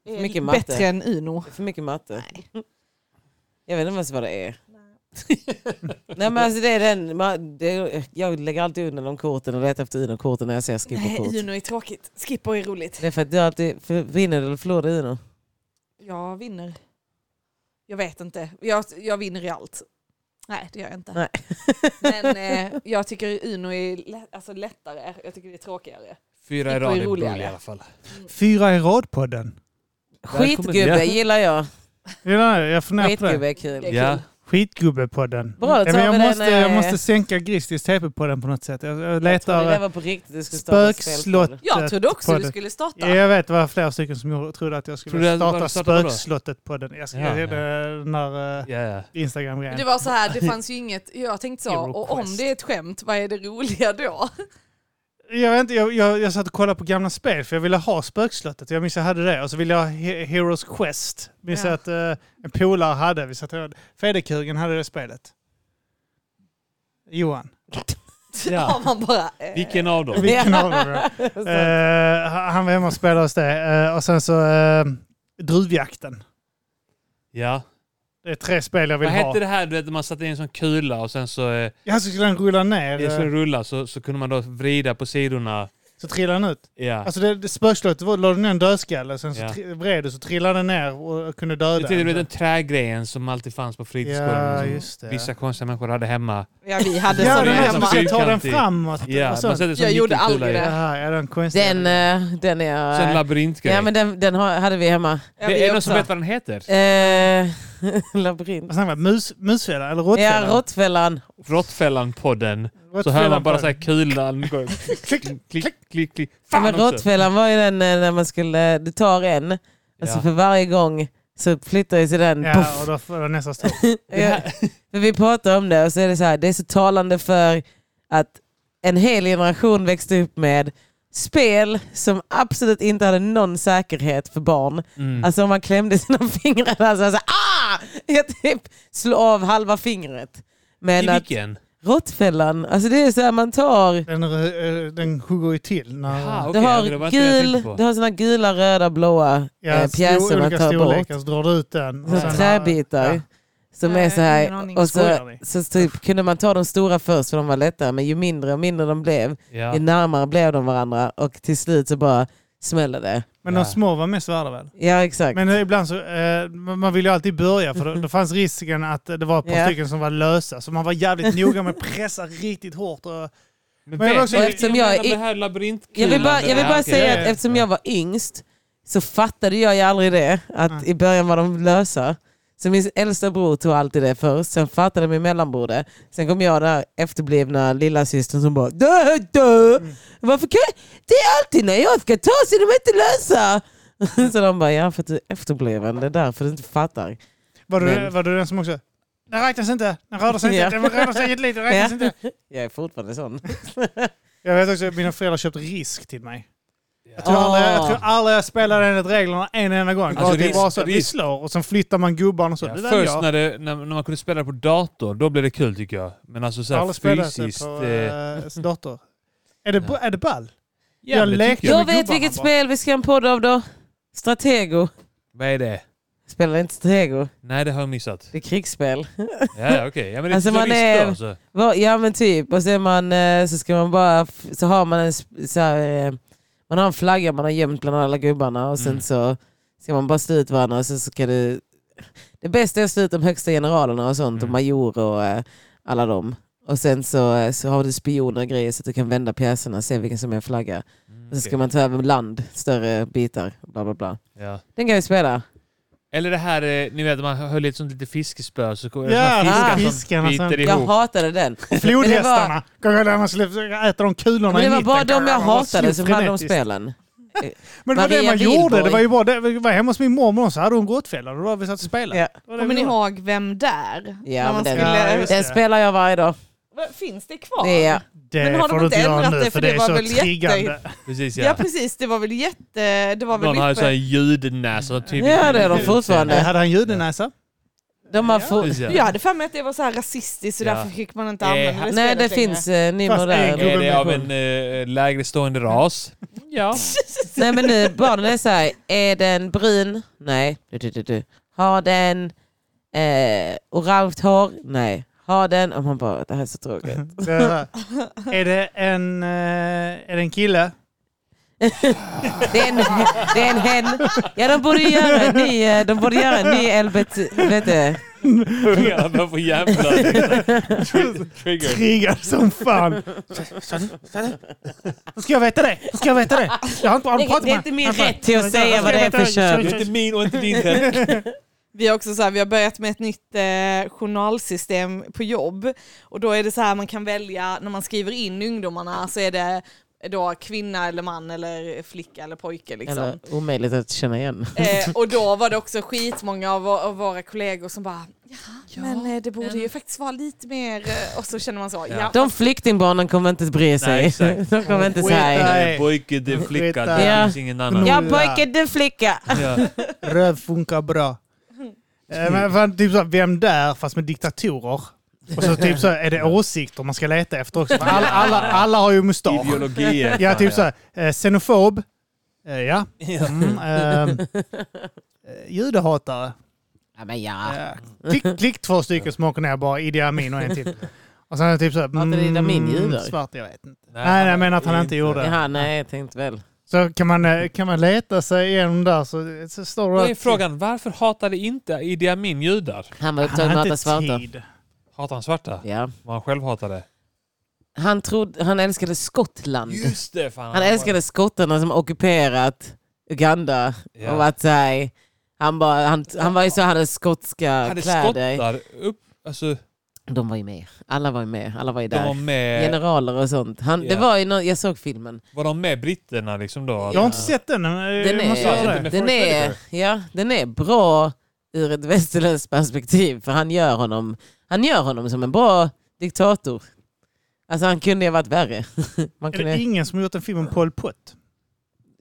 Det är
Mycket matte.
Eh, Bättre än Uno.
Det är för mycket matte.
Nej.
Jag vet inte ens vad det är. Nej men alltså det är den, man- det, jag lägger alltid undan de korten och letar efter Uno-korten när jag ser
Nej,
Skippo-kort.
Uno är tråkigt. Skippo är roligt.
Det är för att du alltid för, vinner eller förlorar Uno.
Jag vinner. Jag vet inte. Jag, jag vinner i allt. Nej, det gör jag inte.
Nej.
Men eh, jag tycker Uno är lä- alltså, lättare. Jag tycker det är tråkigare.
Fyra i
Skippo är
rad är bull
roligare.
i alla fall.
Fyra i rad-podden.
Välkommen.
Skitgubbe gillar jag.
Ja, jag funderar på det.
Skitgubbe
Det
är
är
kul.
Ja.
kul.
Skitgubbe-podden.
Bra, då
Ja, men
tar vi
jag,
den,
måste, jag
eh,
måste sänka Gristis TP-podden på något sätt. Jag, jag
Jag trodde det
letar
var på riktigt. Du skulle starta ett spelpodd.
spökslottet.
Jag trodde också du
podden.
skulle starta.
Ja, jag vet, det var flera stycken som gjorde- trodde att jag
Trodde
skulle
att-
starta
vad startade du då?
spökslottet-podden. Jag ska
Ja, ja.
ja, den här eh,
Ja, ja.
Men Det
Instagram-grejen.
var så här, det fanns ju inget, jag tänkte så,
Hero
och om
Quest.
det är ett skämt, vad är det roliga då?
Jag, vet inte, jag, jag, jag satt och kollade på gamla spel för jag ville ha spökslottet. Jag minns jag hade det. Och så ville jag ha He- Heroes Quest. Minns
Ja.
jag att eh, en polare hade. Vi satt och- Fedekugen hade det spelet. Johan.
Ja.
Har man bara, eh,
Vilken av dem?
Vilken av dem? då? Eh, han var hemma och spelade hos det. Eh, och sen så eh, Druvjakten.
Ja.
Det är tre spel jag vill
Vad
ha.
hette det här du vet, när man satte in en sån kula och sen så, eh,
Ja, så skulle den rulla ner.
så
eh,
rulla så, så kunde man då vrida på sidorna.
Så trillade den ut.
Ja.
Alltså det, det spökslottet var, la du ner en dödskalle, sen så
Ja.
tri- vred du så trillade den ner och kunde
Jag
döda
tyckte, du vet den trägrejen som alltid fanns på fritidsgården.
Ja,
som
just det.
liksom. Vissa konstiga människor hade hemma.
ja vi hade
Ja,
sån
den här som
hemma.
du ska ta den
Fyrkantig.
framåt.
Ja,
och
man
sånt.
sätter sån
Jag gjorde
nyckelkula
aldrig
i.
det.
Jaha, ja, den konstiga.
Den, eh, den är
Sån
jag...
labyrintgrej.
Ja men den, den har- hade vi hemma.
Ja,
det
vi
är någon som
också.
vet vad den heter.
Eh, labyrint.
Vad sa han? Mus, musfällan eller
Ja,
råttfällan?
Råttfällan.
Råttfällan-podden. Så hör man bara så här kulan gå... klick, Mm, klick, klick, klick.
Ja,
Fan
men
också.
råttfällan var ju den eh, när man skulle, du tar en, alltså
Ja.
för varje gång så flyttar ju sig den.
Ja,
Puff.
och då får jag nästa stå.
Ja, för vi pratar om det och så är det så här, det är så talande för att en hel generation växte upp med spel som absolut inte hade någon säkerhet för barn.
Mm.
Alltså om man klämde sina fingrar där så var det så här, ah! Jag typ slå av halva fingret. Men
I
att
vilken?
råttfällan, alltså det är så här man tar
Den, eh, den hugger ju till. När,
Jaha,
Du
okej.
har,
det var inte det jag
gul,
tänkte på.
du har såna gula, röda, blåa eh,
sto-
pjäser man
olika
tar bort.
storlekar, så drar du ut den.
Så träbitar.
Ja.
Som
Nej,
är så
ingen aning.
här. Och
Skojar
så,
ni?
så typ, kunde man ta de stora först för de var lättare. Men ju mindre och mindre de blev,
Ja.
ju närmare blev de varandra. Och till slut så bara smäller det.
Men
Ja.
de små var mest värda väl?
Ja, exakt.
Men ibland så, eh, man man vill ju alltid börja för då, då fanns risken att eh, det var ett par
Ja.
stycken som var lösa. Så man var jävligt noga med att pressa riktigt hårt. Och, Men
Men, vet
också-
ni
Eftersom
vad
jag
menar
är-
med det här labyrintkulan?
Jag vill bara, jag vill bara
Ja, okej.
säga
ja,
att
ja.
eftersom jag var yngst så fattade jag ju aldrig det. Att
Nej.
i början var de lösa. Så min äldsta bror tog alltid det först, sen fattade min mellanbror det. Sen kom jag där efterblivna lilla systern som bara dö, dö.
Mm.
Varför kan jag? Det är alltid när jag ska ta sig de är inte lösa. Så de bara, ja för att du är efterbliven, det är därför du inte fattar.
var, du,
Men-
var du den som också, den räknas inte, den rörde sig inte,
Ja.
den rörde sig inte lite, den räknas
Ja.
inte.
Jag är fortfarande sån.
Jag vet också att mina föräldrar köpte risk till mig. Jag tror,
Ah.
aldrig, jag tror aldrig jag spelade enligt reglerna en enda gång.
Alltså,
det
risk-
var så, att vi
risk.
slår och sen flyttar man gubbarna och så.
Ja,
det där är
först
jag.
när, det, när, när man kunde spela det på dator, då blev det kul tycker jag. Men alltså
Jag har
såhär
aldrig spelat
fysiskt...
det på
eh,
eh, dator. Är det,
Ja.
är det ball?
ja,
jag
det
lekte-
tycker
Jag
men
vet
gubbarna
vilket
bara.
spel vi ska ha en podd av då. Stratego.
Vad är det?
Spelar inte Stratego?
Nej, det har jag missat.
Det är krigsspel.
Ja, ja, okej. Ja, men det är
Alltså,
så
man
risk
är-
då alltså.
Va- Ja men typ, och så, är man, eh, så ska man bara, f- så har man en, sp- så här, eh, man har en flagga man har gömt bland alla gubbarna och sen
Mm.
så ska man bara stå ut varandra och sen så ska du, det bästa är att stå ut de högsta generalerna och sånt och
Mm.
majorer och eh, alla dem. Och sen så, eh, så har du spioner och grejer så att du kan vända pjäserna och se vilken som är flagga.
Mm,
Och så Alltså, ska
okej.
man ta över land, större bitar, bla bla bla.
ja.
Den kan vi spela.
Eller det här, eh, ni vet man höll i ett sånt litet fiskespö så kom det
Ja,
såna
ah.
fiskar
fiskarna
som biter
sen.
Jag
ihop.
hatade den.
Flodhästarna. Gång när man skulle försöka äta de kulorna
Men det
i
var
mitten.
bara de jag
Man bara slog
hatade som hade de
frenetiskt.
spelen.
Men det var det
Maria
man gjorde.
Wilborg.
Det var ju bara det. Vi var hemma hos min mormor och så hade hon råttfällor. Då var vi satt och spelade.
Ja.
Det var det
Kommer ni
vi gjorde.
ihåg Vem där? När
Ja, men
man
den-
Ja,
skulle...
just-
Den
det.
spelar jag varje dag.
Va- Finns det kvar?
Det är
Det
Men har de
får du
inte
göra
ändrat det?
nu
För
för det
det
är
var
så
väl jätte-
triggande.
Precis
Ja.
ja.
precis, det var väl jätte... Det var väl
Någon hade sån här
uppe.
ljudnäsa typ.
Ja, det har de fortfarande.
Eh, Hade han judenäsa?
De har få...
Precis, ja.
Jag hade för mig att det var så här rasistiskt så
Ja.
därför fick man inte
Eh,
använda det
Nej, det
spelet längre.
finns eh, ny
Fast
modern.
en gubbe
Är det av
version.
en eh, lägre stående ras? Ja.
Nej, men nu barnen är så här. Är den brun? Nej. Du, du, du, du. Har den eh, orange hår? Nej. Har den... Och man bara, det här är så tråkigt.
Det är- Är det en, eh, är det en kille?
Det är en, det är en hen. Ja, de borde göra en ny, eh, de borde göra en ny LBT... Vet du?
Ungarna börjar få jävla... Trigger.
Triggad som fan. Så, så, så. Hur ska jag veta det? Hur ska jag veta det? Jag har inte har du pratat
Det är
med
inte min rätt till att säga vad det är för
Det
kön.
är inte min och inte din heller.
Vi har också så här, vi har börjat med ett nytt eh, journalsystem på jobb och då är det så här man kan välja när man skriver in ungdomarna så är det då kvinna eller man eller flicka eller pojke liksom.
Eller omöjligt att känna igen.
Eh, och då var det också skitmånga av, vå- av våra kollegor som bara ja, men eh, det borde ju faktiskt vara lite mer eh," och så känner man så ja.
Ja.
De flyktingbarnen kommer inte att bry
Nej,
sig.
exakt.
De kommer inte säga...
Nej.
Pojke, det är flicka, det
Ja.
finns ingen annan.
Ja pojke, du flicka.
Ja.
Röv funkar bra. Eh, Men fan, typ så, här, vem där fast med diktatorer? Och så typ så här, är det åsikter man ska leta efter också. För Alla, alla, alla har ju mustasch.
Ideologier.
Ja, typ så här, eh, xenofob. Eh, Ja. Mm, ehm, eh, Judehatare.
Ja, men ja.
Eh, Klick, klick två stycken som åker ner bara. Idi Amin och en till. Och sen är det typ så här,
inte Idi Amin
mm,
judar?
Svart, jag vet inte. Nej, nej, men att han inte gjorde det.
Jaha, nej jag tänkte väl.
Så kan man, eh, kan man leta sig igenom där så, så står
Då
det...
är frågan, varför hatade inte Idi Amin judar?
Han var
Han
upptagen
hade
med att
inte
hata svarta.
tid.
Hatar han svarta?
Ja.
Vad han själv hatade?
Han, trodde, han älskade Skottland.
Just det! Fan,
Han älskade skottarna som ockuperat Uganda.
Ja.
Och varit så här, han, bara, han, han var ju så, han hade skotska
Hade
kläder.
skottar upp... Alltså,
De var ju med. Alla var ju med. Alla var ju
de var
där.
med...
Generaler och sånt. Han, Det
Ja.
var ju nå- jag såg filmen.
Var de med britterna liksom då?
Jag har inte sett den. men, eh,
Den
Jag måste
är-
göra
inte
det.
med
Den
Forrest
är,
Whitaker.
ja, den är bra ur ett västerländskt perspektiv. För han gör honom, han gör honom som en bra diktator. Alltså han kunde ju ha varit värre. Man
Är det
kunde,
ingen som har gjort en film om Pol Pot?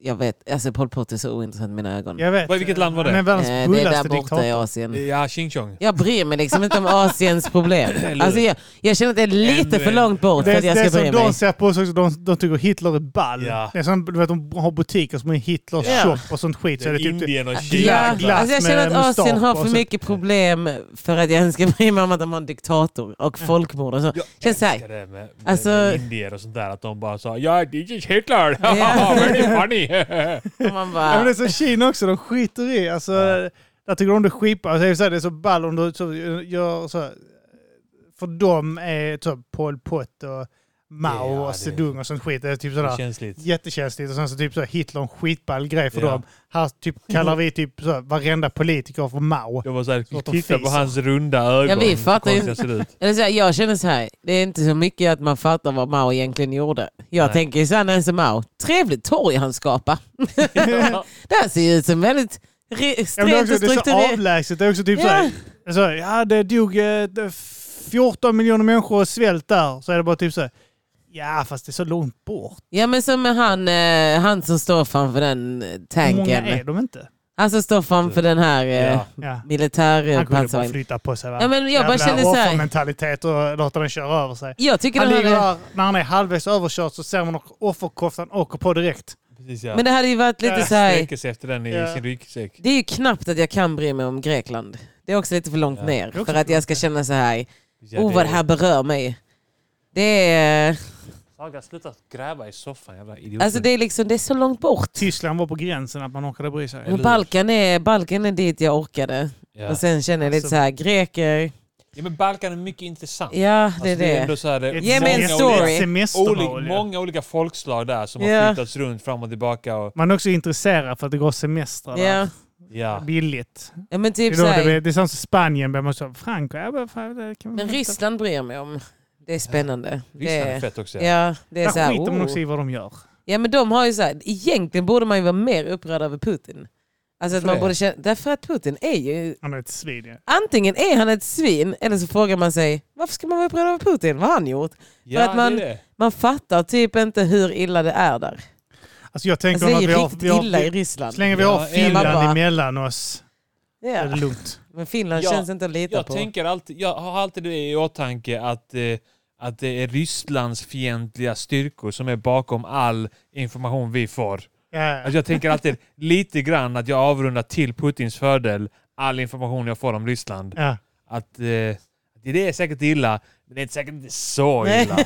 jag vet, alltså Pol Pot är så ointressant i mina ögon.
Jag vet.
Vad- vilket land var det?
Han är
Eh,
världens
det är där
bullaste
borta i
diktator.
Asien.
Ja, Ching Chong.
Jag bryr mig liksom inte om Asiens problem.
Eller-
Alltså jag, jag känner att det är
Ännu
lite för
en-
långt bort
Det
för
är,
att
det
jag
är
ska bry
som de
mig.
ser på oss också, de, de tycker Hitler är ball.
Ja.
Det är som, du vet, de har butiker som är Hitlers
Ja.
shop och sånt skit. Så är det typ,
Indien och
Ja,
Kina.
glass
alltså jag känner
med
att Asien
mustasch
har
och
för
så.
mycket problem för att jag ens ska bry mig om att de har en diktator och folkmord och så.
Jag
Känns så här.
älskar det med, med,
Alltså-
med indier och sånt där. Att de bara sa ja, this is Hitler!
Ja.
Very funny!
Och man
Ja, men det
bara,
är så Kina också, de skiter i. Alltså, Där tycker de det är skitbra. Alltså, jag vill säga, det är så ball om du så, gör så. här. För dem är typ Pol Pot och Mao
Ja, det-
och Sedung och sånt skit. Det är typ sådär
Känsligt.
jättekänsligt. Och sen så typ så här, Hitler en skitball grej för
Ja.
dem. Här typ kallar vi typ så här, varenda politiker för Mao.
Jag var såhär,
Svårt att
titta på
fisa.
hans runda ögon.
Ja, vi fattar ju.
Hur konstiga ser ut.
eller så här, jag känner så här, det är inte så mycket att man fattar vad Mao egentligen gjorde. Jag
Nej.
tänker så här när jag ser Mao, trevligt torg han skapar. det här ser ju ut som väldigt re-
Ja, men det, är också,
strängt och
det är så
strukturerat.
avlägset. Det är också typ
Ja.
så här, så här, ja det dog eh, det- 14 miljoner människor av svält där. Så är det bara typ så här, ja fast det är så långt bort.
Ja men som med han, eh, han som står framför den eh,
Hur många är
tanken.
de inte?
Han som står framför den här eh,
Ja.
Ja. Han kunde bara
militärpansarvagnen.
flytta på sig. Va?
Ja, men jag bara
Jävla
känner så här-
offermentalitet och låta den köra över sig.
Jag tycker
Han
den
ligger
hade...
där, när han är halvvägs överkörd så ser man att offerkoftan åker på direkt.
Precis, ja.
Men det hade ju varit lite
Ja.
så här...
Sträcker sig efter den i
Ja.
sin ryggsäck.
Det är ju knappt att jag kan bry mig om Grekland. Det är också lite för långt
Ja.
ner
Det är också
för att
för
jag ska känna så här,
Ja,
oh vad det här berör mig. Det är,
Saga, sluta gräva i soffan jävla idiot.
alltså det är, liksom, det är så långt bort.
Tyskland var på gränsen att man orkade bry sig.
Men Balkan är, Balkan är dit jag orkade.
ja. Alltså-
Och sen känner jag lite så här, greker,
ja, men Balkan är mycket intressant.
ja det
Alltså,
är
det är
det.
ändå så här, det är
Ett-
Ge mig en
ett-
många
story.
olika-
ett
Olik,
semestermål. ju.
många olika folkslag där som
Ja.
har flyttats runt fram och tillbaka. Och,
Man är också intresserad för att det går semestrar
Ja.
ja.
där. Billigt.
ja men typ så
det, är då det,
här,
blir- det är samma som Spanien. där Man så, Frankrike, ja, vad fan, det kan man
men
inte-
Ryssland bryr jag mig om. Det är spännande. Det
Ryssland är
är,
fett också. Ja.
ja, det är så
Där
här,
skiter man också
oh.
i vad de gör.
Ja men de har ju så här, egentligen borde man ju vara mer upprörd över Putin. Alltså att
Varför
man
det?
borde känna, därför att Putin är ju
Han är ett svin. Ja.
Antingen är han ett svin eller så frågar man sig varför ska man vara upprörd över Putin? Vad har han gjort?
Ja,
För att man-
det är det.
Man fattar typ inte hur illa det är där.
Alltså jag tänker
Alltså, det är
att
ju
vi har,
riktigt
vi har,
illa i
vi,
Ryssland.
så länge vi
Ja,
har
Emma
Finland
bara-
emellan oss är det
Ja.
lugnt.
Men Finland
Ja,
känns inte att lita
Jag,
på.
tänker alltid, jag har alltid det i åtanke att, eh, att det är Rysslands fientliga styrkor som är bakom all information vi får.
Ja.
Alltså jag tänker alltid lite grann att jag avrundar till Putins fördel all information jag får om Ryssland.
Ja.
Att eh, det är säkert illa, men det är inte säkert inte så illa.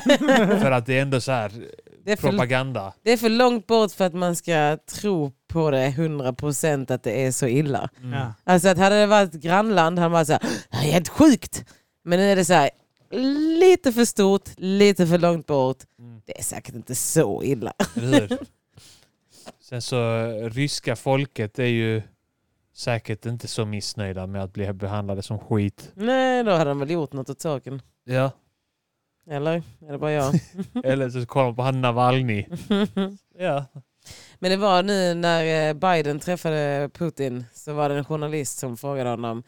för att det är ändå så här eh,
Det är, för,
propaganda.
det är för långt bort för att man ska tro på det 100% att det är så illa.
Mm.
Ja.
Alltså att hade det varit ett grannland hade man varit så här, det här är helt sjukt. Men nu är det så här, lite för stort, lite för långt bort. Det är säkert inte så illa.
Eller hur? Sen så, eh, ryska folket är ju säkert inte så missnöjda med att bli behandlade som skit.
Nej, då hade de väl gjort något åt saken.
Ja.
Eller? Är det bara jag?
Eller så kollar man på han Navalny. Ja.
Men det var nu när eh, Biden träffade Putin så var det en journalist som frågade honom.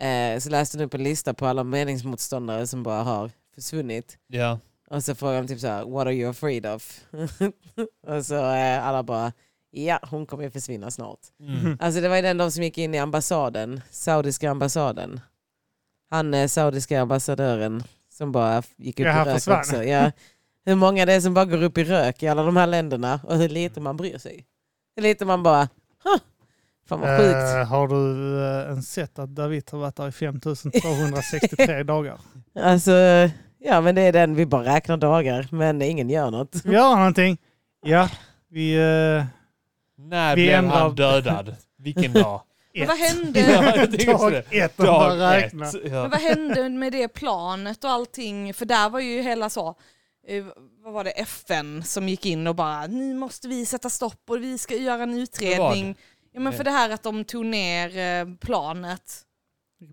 Eh, så läste han upp en lista på alla meningsmotståndare som bara har försvunnit.
ja.
Och så frågade han typ så här, what are you afraid of? och så eh, alla bara, ja hon kommer ju försvinna snart.
Mm.
Alltså det var ju den de som gick in i ambassaden, saudiska ambassaden. Han eh, saudiska ambassadören som bara f- gick upp
Ja, han
i rök
försvann.
också. Ja. Hur många det är som bara går upp i rök i alla de här länderna och hur lite man bryr sig. Hur lite man bara, huh, fan vad sjukt.
Eh, har du eh, ens sett att David har varit där i 5263 dagar?
Alltså, ja men det är den, vi bara räknar dagar men ingen gör något.
Vi gör någonting. Ja, vi... eh,
När
Vi
blev
ändrar-
han dödad? Vilken dag?
Men vad hände?
Ja, jag tänker också
dag
det.
ett om man
Dag ett.
räknar.
Men
Ja.
vad hände med det planet och allting? För där var ju hela så, eh, vad var det, FN som gick in och bara nu måste vi sätta stopp och vi ska göra en utredning. Ja men för det här att de tog ner eh, planet.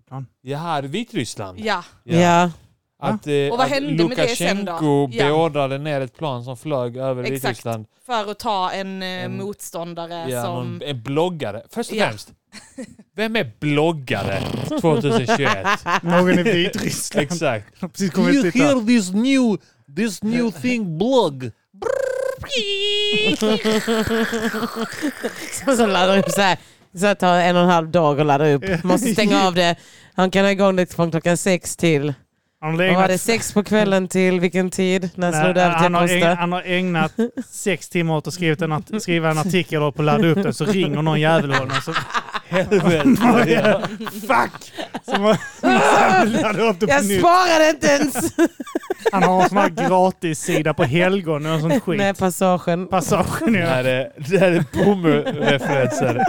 Plan.
Jaha, Vitryssland.
Ja,
Ja.
Att, eh,
Och vad
att
hände med det sen då?
Lukasjenko
Ja.
beordrade ner ett plan som flög över
Exakt.
Vitryssland.
för att ta en, eh,
En-
motståndare
Ja,
som...
någon, en bloggare. Först och
Ja.
främst, vem är bloggare 2021?
Någon i Vitryssland.
Exakt.
har Precis kommit hit där.
this new, this new thing blog?
Som så laddar upp så här. Så att tar en och en halv dag att ladda upp. Måste stänga av det. Han kan ha igång det från klockan sex till
Han har
Vad var det,
ägnat,
sex på kvällen till vilken tid? När slog
nej,
det över till
han, har ägnat,
Costa?
han har ägnat sex timmar åt att skriva en, art, skriva en artikel och på att ladda upp den så ringer någon jävel honom. Så
helvete. Ja.
Fuck! Som man samlade upp det på
Jag
nytt.
sparade inte ens!
Han har en sån här gratissida på helgon och sånt skit.
Nej, passagen.
Passagen
Det här
ja.
är, det här är boomer-referenser.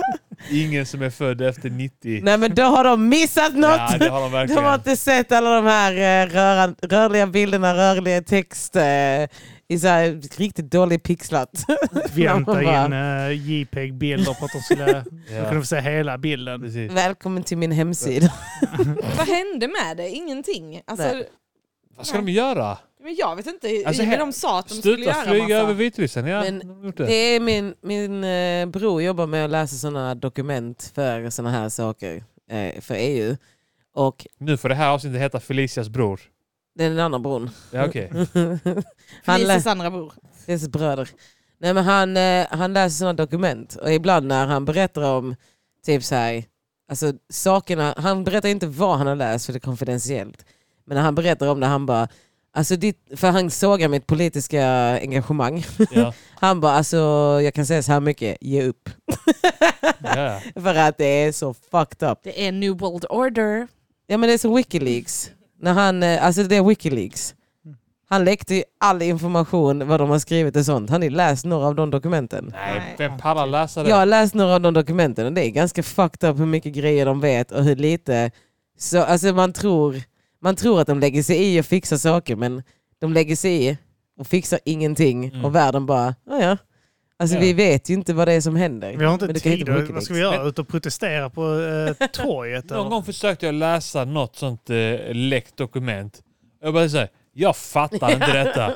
Ingen som är född efter 90.
Nej men då har de missat något!
Ja, det har de
De har
verkligen.
inte sett alla de här eh, röran, rörliga bilderna, rörliga text eh, i så här riktigt dåligt pixlat.
Vi hämtar
Bara-
in eh, JPEG-bilder för att de skulle de kunde
Ja,
få se hela bilden.
precis.
Välkommen till min hemsida.
Vad hände med det? Ingenting. Alltså,
Nej.
Vad ska de göra?
men jag vet inte.
Alltså,
I och med
här-
de sa att de skulle
Sluta
göra
flyga
massa.
över Vitryssen. Ja,
Men
de har gjort
Det är min, min eh, bror jobbar med att läsa sådana dokument för sådana här saker eh, för EU. Och
Nu får det här avsnittet heta Felicias bror.
den är den andra bron.
Ja, okej.
Han lä-
Felicias andra bror.
Det är så bröder. Nej, men han, eh, han läser sådana dokument och ibland när han berättar om typ så här, alltså sakerna, han berättar inte vad han har läst för det är konfidentiellt. Men när han berättar om det han bara, alltså ditt, för han sågar mitt politiska engagemang.
Ja,
Han bara, alltså jag kan säga så här mycket, ge upp.
ja.
för att det är så fucked up.
Det är New World Order.
Ja men det är som Wikileaks. När han, eh, alltså det är Wikileaks. Han läckte ju all information, vad de har skrivit och sånt. Han har ju läst några av de dokumenten.
Nej, vem pallar läsa det?
Jag har läst några av de dokumenten och det är ganska fucked up hur mycket grejer de vet och hur lite. Så, alltså man, tror, man tror att de lägger sig i och fixar saker men de lägger sig i och fixar ingenting
Mm.
och världen bara, ja ja. Alltså
Ja.
vi vet ju inte vad det är som händer.
Vi har inte
Men du kan
tid.
hitta på
att-
mycket
Vad ska
text.
vi göra? Ut och protestera på eh, torget?
Någon
eller?
gång försökte jag läsa något sånt eh, läckt dokument. Jag bara såhär, jag fattar inte detta.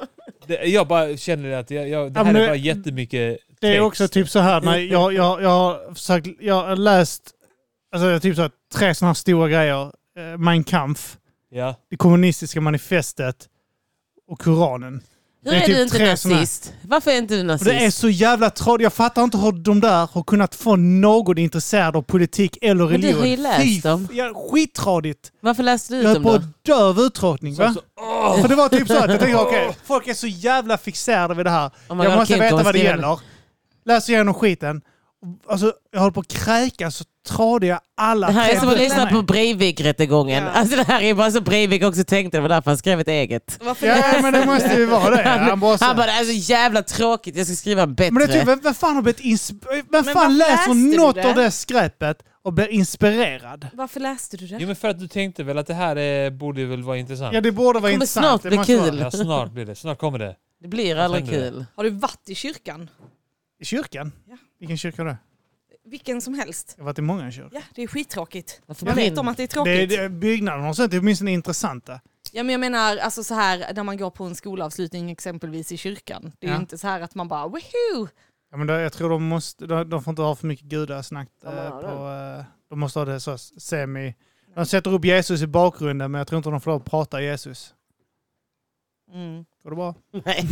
Det, jag bara känner att jag, jag, det
Ja,
här
men
är
det-
bara jättemycket text.
Det är också typ så här, när jag, jag, jag har försökt, jag har läst alltså, typ så här, tre sådana här stora grejer. Eh, Mein Kampf,
Ja.
det kommunistiska manifestet och Koranen.
Hur
Det
är,
är typ
du inte
tre såna här-
nazist? Varför är inte du
Och
nazist?
det är så jävla tråkigt. Jag fattar inte hur de där har kunnat få någon intresserad av politik eller
Men du
religion.
har ju läst
Fy f-
dem.
Ja, skittradigt.
Varför läste du
Jag
ut
höll
dem
på
då?
att dö av uttråkning.
Så,
Va?
så, åh!
För det var typ så att jag tänkte, okej, folk är så jävla fixerade vid det här.
Oh my
Jag
God,
måste
Kinko,
veta vad det
skriv en-
gäller. Läser igenom skiten. Alltså, jag håller på att kräkas så tradiga alla
Det här är som att
tre
lyssna på
böckerna.
Breivik-rättegången.
Ja.
Alltså det här är bara så Breivik också tänkte, det var därför han skrev ett eget.
Varför
Ja, men det måste ju vara det. Han
Han,
bara, så-
han bara, det här är så jävla tråkigt, jag ska skriva bättre.
men det är typ, vem, vem fan har blivit insp- Vem
Men
fan
varför
läser
läste du
något
det?
av det skräpet och blir inspirerad?
Varför läste du det?
Jo men för att du tänkte väl att det här är, borde väl vara intressant?
Ja, det borde vara
kommer
intressant.
snart
Det
bli
måste vara-
kul.
Ja, snart blir det. Snart kommer det.
det blir aldrig
Vad händer?
kul.
Har du varit i kyrkan?
I kyrkan?
Ja.
Vilken kyrka är det?
Vilken som helst.
Jag har varit i många kyrkor.
Ja, det är skittråkigt.
Varför
Man vet
brinner-
om att det är
Det,
tråkigt.
det, byggnaderna och sånt är åtminstone intressanta.
Ja, men jag menar, alltså så här, när man går på en skolavslutning exempelvis i kyrkan. Det är
Ja.
ju inte så här att man bara woho!
Ja, men då, jag tror de, måste, de, de får inte ha för mycket gudasnack.
Ja, men
eh,
har
på, eh, de måste ha det så semi... De sätter upp Jesus i bakgrunden men jag tror inte de får lov att prata Jesus.
Mm.
Går det bra?
Nej.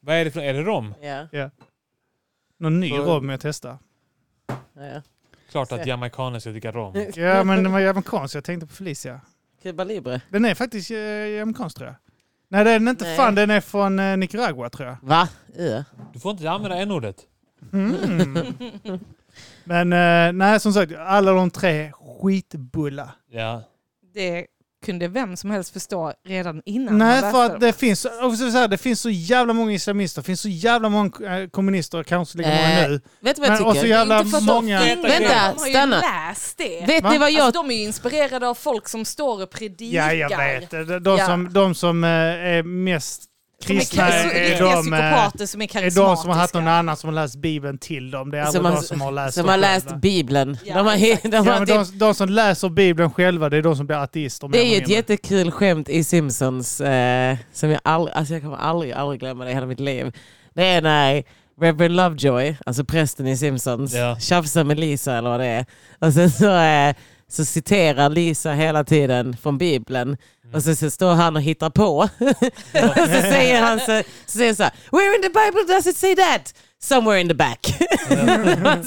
Vad är det för Är det rom?
ja,
Någon ny
Så-
rom jag testar.
ja.
Klart att jamaikaner ska dricka rom.
Ja men den var ju amerikansk, jag tänkte på Felicia.
Cuba Libre.
Den är faktiskt eh, amerikansk tror jag. Nej den är inte
Nej.
fan, den är från eh, Nicaragua tror jag.
Va? Ja.
Du får inte använda n-ordet.
Mm. men eh, nej som sagt, alla de tre skitbulla.
Ja.
Det kunde vem som helst förstå redan innan man
Nej,
läste
för att
dem.
det finns, och så så här, det finns så jävla många islamister, det finns så jävla många eh, kommunister, kanske lika många
Eh,
nu.
Vet du vad jag
Men, och så
tycker?
jävla
Inte för att de
många...
finns,
Vänta,
de har ju
stanna.
läst det.
Vet
Va?
ni vad jag...
Alltså, de är ju inspirerade av folk som står och
Ja,
predikar.
jag vet. De, de
Ja.
som, de som eh, är mest
De är
kristna
ka- så-
är,
riktiga
de, eh,
psykopater som är
är
karismatiska.
de som har haft någon annan som har läst Bibeln till dem. Det är aldrig
Som har-
de som har läst
Som
det
har
själva.
läst Bibeln.
Ja,
de har,
exakt.
de har
Ja, men
typ
de, de som läser Bibeln själva, det är de som blir ateister. mer
Det är ju
eller
ett
mindre.
jättekul skämt i Simpsons eh, som jag aldrig, alltså jag kommer aldrig, aldrig glömma det i hela mitt liv. Det är när Reverend Lovejoy, alltså prästen i Simpsons,
Ja.
tjafsar med Lisa eller vad det är. Och sen så, eh, så citerar Lisa hela tiden från Bibeln. Och sen så står han och hittar på. och så säger han så, så säger han så här, Where in the Bible does it say that? Somewhere in the back.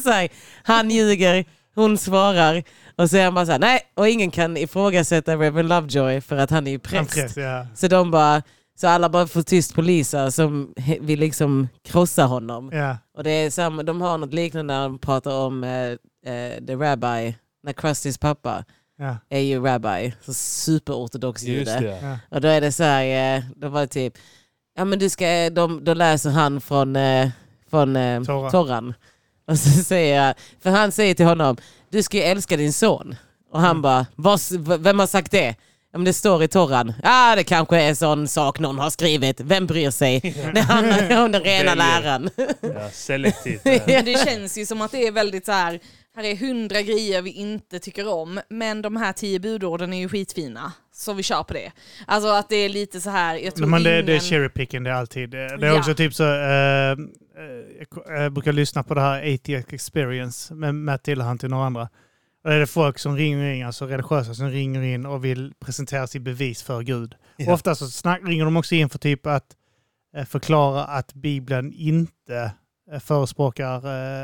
så här, han ljuger, hon svarar. Och så är han bara så här, nej, och ingen kan ifrågasätta Reverend Lovejoy för att han är ju
En
präst.
präst, ja.
Så de bara, så alla bara får tyst på Lisa som he- vill liksom krossa honom.
Ja.
Och det är samma, de har något liknande när de pratar om eh, eh, The Rabbi, när Krustys pappa
Ja.
är ju rabbi, så superortodox
Just
jude.
det.
Och då är det så här, eh, de var typ, ja men du ska, eh, de, då läser han från, eh, från eh,
Torra.
Torran. Och så säger jag, för han säger till honom, du ska ju älska din son. Och
Mm.
han bara, "Vad s- v- vem har sagt det? Ja men det står i Torran. Ja ah, det kanske är en sån sak någon har skrivit, vem bryr sig? Det handlar ju om den rena
Väljer.
läran.
Ja, selektivt.
Men det känns ju som att det är väldigt så här, här är hundra grejer vi inte tycker om, men de här tio budorden är ju skitfina. Så vi kör på det. Alltså att det är lite så här, jag tror
Nej, men det, det är
ingen-
cherry picking, det är alltid. eh, Det är
Ja.
också typ så, eh, eh, jag, jag brukar lyssna på det här 80 experience med Matt Dillahunty och några andra. Och det är det folk som ringer in, alltså religiösa som ringer in och vill presentera sitt bevis för Gud.
Ja.
Ofta så snack, ringer de också in för typ att eh, förklara att Bibeln inte eh, förespråkar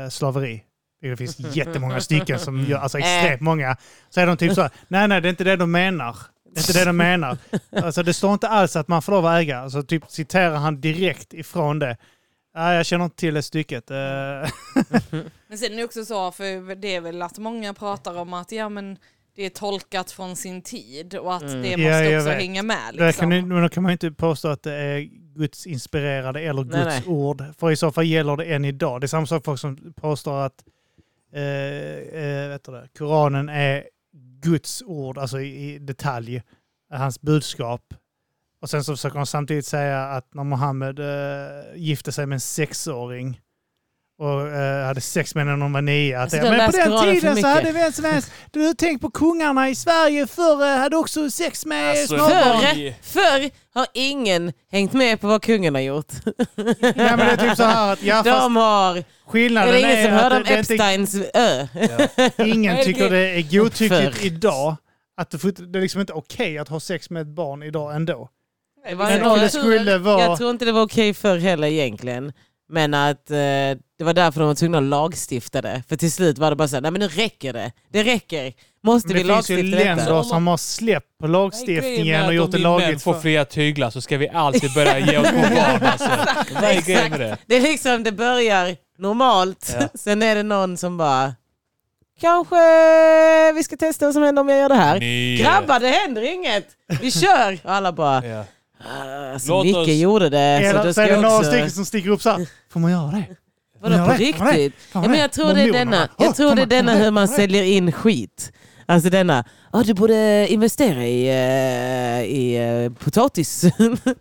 eh, slaveri. Det finns jättemånga stycken som
Mm.
gör,
Eh.
alltså extremt många. Så är de typ så här, nej nej det är inte det de menar. Det är inte det de menar. Alltså det står inte alls att man får lov att äga. Alltså typ citerar han direkt ifrån det. Nej, jag känner inte till det stycket. Eh,
Men sen är det också så, för det är väl att många pratar om att ja men det är tolkat från sin tid och att
Mm.
det måste
Ja, jag
också
vet.
hänga med.
där kan,
Liksom.
ni- men då kan man ju inte påstå att det är Guds inspirerade eller Guds
Nej,
ord. För i så fall gäller det än idag. Det är samma sak folk som påstår att eh, eh, vet du det, Koranen är Guds ord, alltså i, i detalj, hans budskap. Och sen så försöker de samtidigt säga att när Mohammed eh, gifte sig med en sexåring och eh, hade sex med henne när hon var nio. Att,
Alltså, du
det-
har
men på
läst
den
Koranen för
tiden så
mycket."
hade vem som helst... Du, tänk på kungarna i Sverige förr eh, hade också sex med
Alltså,
småbarn.
Förr, förr har ingen hängt med på vad kungen har gjort.
Nej men det är typ så här att, ja fast
De har... Är
skillnaden
det ingen
är
som
att
hörde
det,
om
det är inte,
Epsteins ö?
ingen
Nej, det-
tycker det är godtyckligt
Förr.
idag. Att du får, inte- det är liksom inte okej att ha sex med ett barn idag ändå.
Det
var
vissa
Men om det
kulturer-
skulle vara...
Jag tror inte det var okej förr heller egentligen. Men att eh, det var därför de var tvungna att lagstifta det. För till slut var det bara så här, nej men nu räcker det. Det räcker. Måste
Men
vi
det finns ju
lagstifta detta?
länder som har släppt på lagstiftningen och gjort det
Om vi män
lagligt.
får
För,
fria tyglar så ska vi alltid börja ge oss på barn. Alltså. Vad är grejen med det?
Det är liksom, det börjar normalt.
Ja.
Sen är det någon som bara, kanske vi ska testa vad som händer om jag gör det här.
Ni- eh,
Grabbar, det händer inget. Vi kör! Och alla bara,
Ja.
"Ah, alltså,
Låt
Micke
oss-
gjorde det. Så
eller
Alltså, då
så
ska
är det
jag
några
också...
stycken som sticker upp så här. Får man göra det?
Vadå
Ja,
på
det- ja, det-
riktigt?
fan,
Ja, men jag
det-
tror det är
mormonerna.
denna,
Åh,
jag tror
fan,
det är denna
fan,
hur man
fan,
säljer in skit. Alltså denna, ja du borde investera i, eh, i eh, potatis.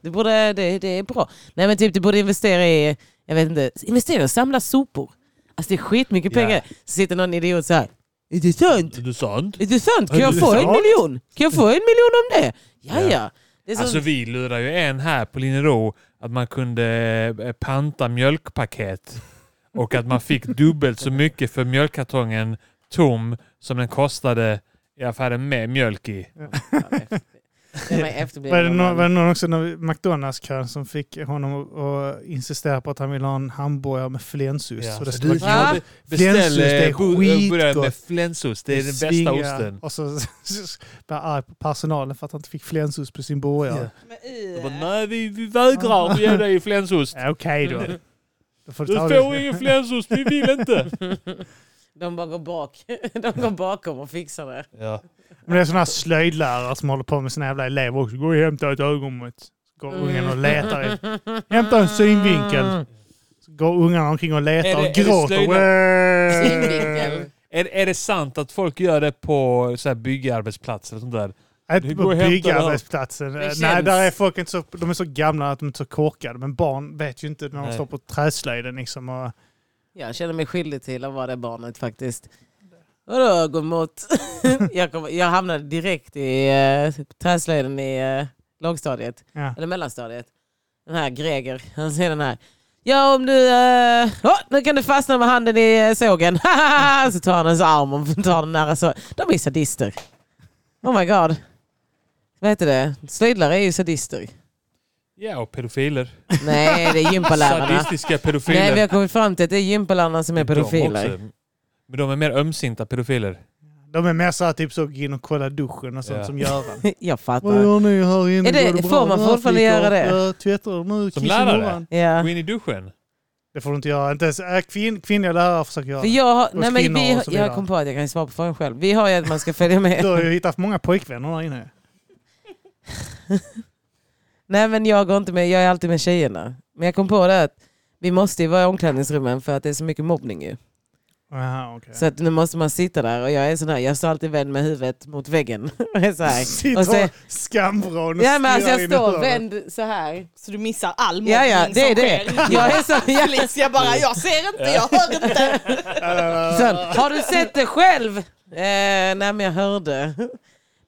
du borde, det, det är bra. Nej men typ du borde investera i, jag vet inte, investera och samla sopor. Alltså det är skitmycket
Ja.
pengar. Så sitter någon idiot så här. är det sant?
Är det sant?
Är det sant? Kan
Är
jag
det
få en
sant?"
miljon? Kan jag få en miljon om det? Ja
Ja.
ja. Det är så,
Alltså vi lurar ju en här på Linero att man kunde eh, panta mjölkpaket och att man fick dubbelt så mycket för mjölkkartongen tom som den kostade i affären med mjölk i.
det är
Var det,
efterbliven.
någon, var det någon också när McDonalds-kön som fick honom att- att insistera på att han ville ha en hamburgare med flensost?
Ja,
och det
så
stod
du kan
"Ja,
be-
Flensost,
beställ
det är
eh, bu- bröd med
skitgott.
flensost. Det är den bästa
svinga."
osten.
Och så blev jag arg på personalen för att han inte fick flensost på sin burgare.
Jag bara, Nej, vi, vi vägrar att ge dig flensost.
Ja. Okej då. Då får
Du
ta
får
det.
ingen flensost, vi vill inte.
De bara går bak. De går bakom och fixar det.
Ja.
Men det är sådana här slöjdlärare som håller på med sina jävla elever också. Gå och hämta ett ögonmått. Så går ungen och letar. i- Hämta en synvinkel. Så går ungarna omkring och
Är
letar
det-
och
är det
gråter.
slöjd-
Wee!
Synvinkel.
Är, är det sant att folk gör det på så här byggarbetsplatser och sånt där?
äh, Inte
Det
på
går att hämta
byggarbetsplatsen. Äh,
det här. Det
Nej,
känns.
där är folk inte så, de är så gamla att de inte är så korkade. Men barn vet ju inte när de
Nej.
står på träslöjden liksom. Och,
Jag känner mig skyldig till att vara det barnet faktiskt. Vadå gå mot? jag, kom, jag hamnade direkt i uh, träslöjden i eh, lågstadiet,
ja.
eller mellanstadiet. Den här Greger, han säger den här. Ja om du... eh, åh, nu kan du fastna med handen i eh, sågen. så tar han hans arm och tar den nära så. De är sadister. Oh my god. Vad heter det? Slöjdlärare är ju sadister.
Ja, och pedofiler.
Nej, det är gympalärarna.
Sadistiska
Nej,
pedofiler.
vi har kommit fram till att det är gympalärarna som är
De
pedofiler.
också. Men de är mer ömsinta pedofiler.
De är mer så här, typ så, gå in och kolla duschen och sånt
Ja.
som Göran.
Jag
Vad
fattar.
gör ni här inne?
eh, Är det-
Går bra
får man
med här,
fortfarande
flickor?
göra det?
Jag tvättar nu,
Som
kiss i
lärare?
morgon.
Ja.
Gå in i duschen.
Det får du inte göra. Inte ens äh, kvin, kvinnliga lärare försöker göra
För
det.
jag, har-
Hos
nej, men
kvinnor
vi,
och
har-
så vidare.
jag kom på att jag kan ju svara på frågan själv. Vi har ju att man ska följa med.
Du har ju hittat många pojkvänner där inne.
Nej men jag går inte med, jag är alltid med tjejerna. Men jag kom på det att vi måste ju vara i omklädningsrummen för att det är så mycket mobbning ju.
Aha, okay.
Så att nu måste man sitta där och jag är sån här, jag står alltid vänd med huvudet mot väggen. Och är så här.
Sitter
Och så,
och skamvrån och
ja men alltså jag
stirrar in i
står
hörnet.
vänd så här.
Så du missar all mobbning
Ja ja, det är
som
det.
sker.
Jag är så, jag,
Felicia bara, jag ser inte, jag hör inte.
sån, har du sett det själv? Eh, nej men jag hörde.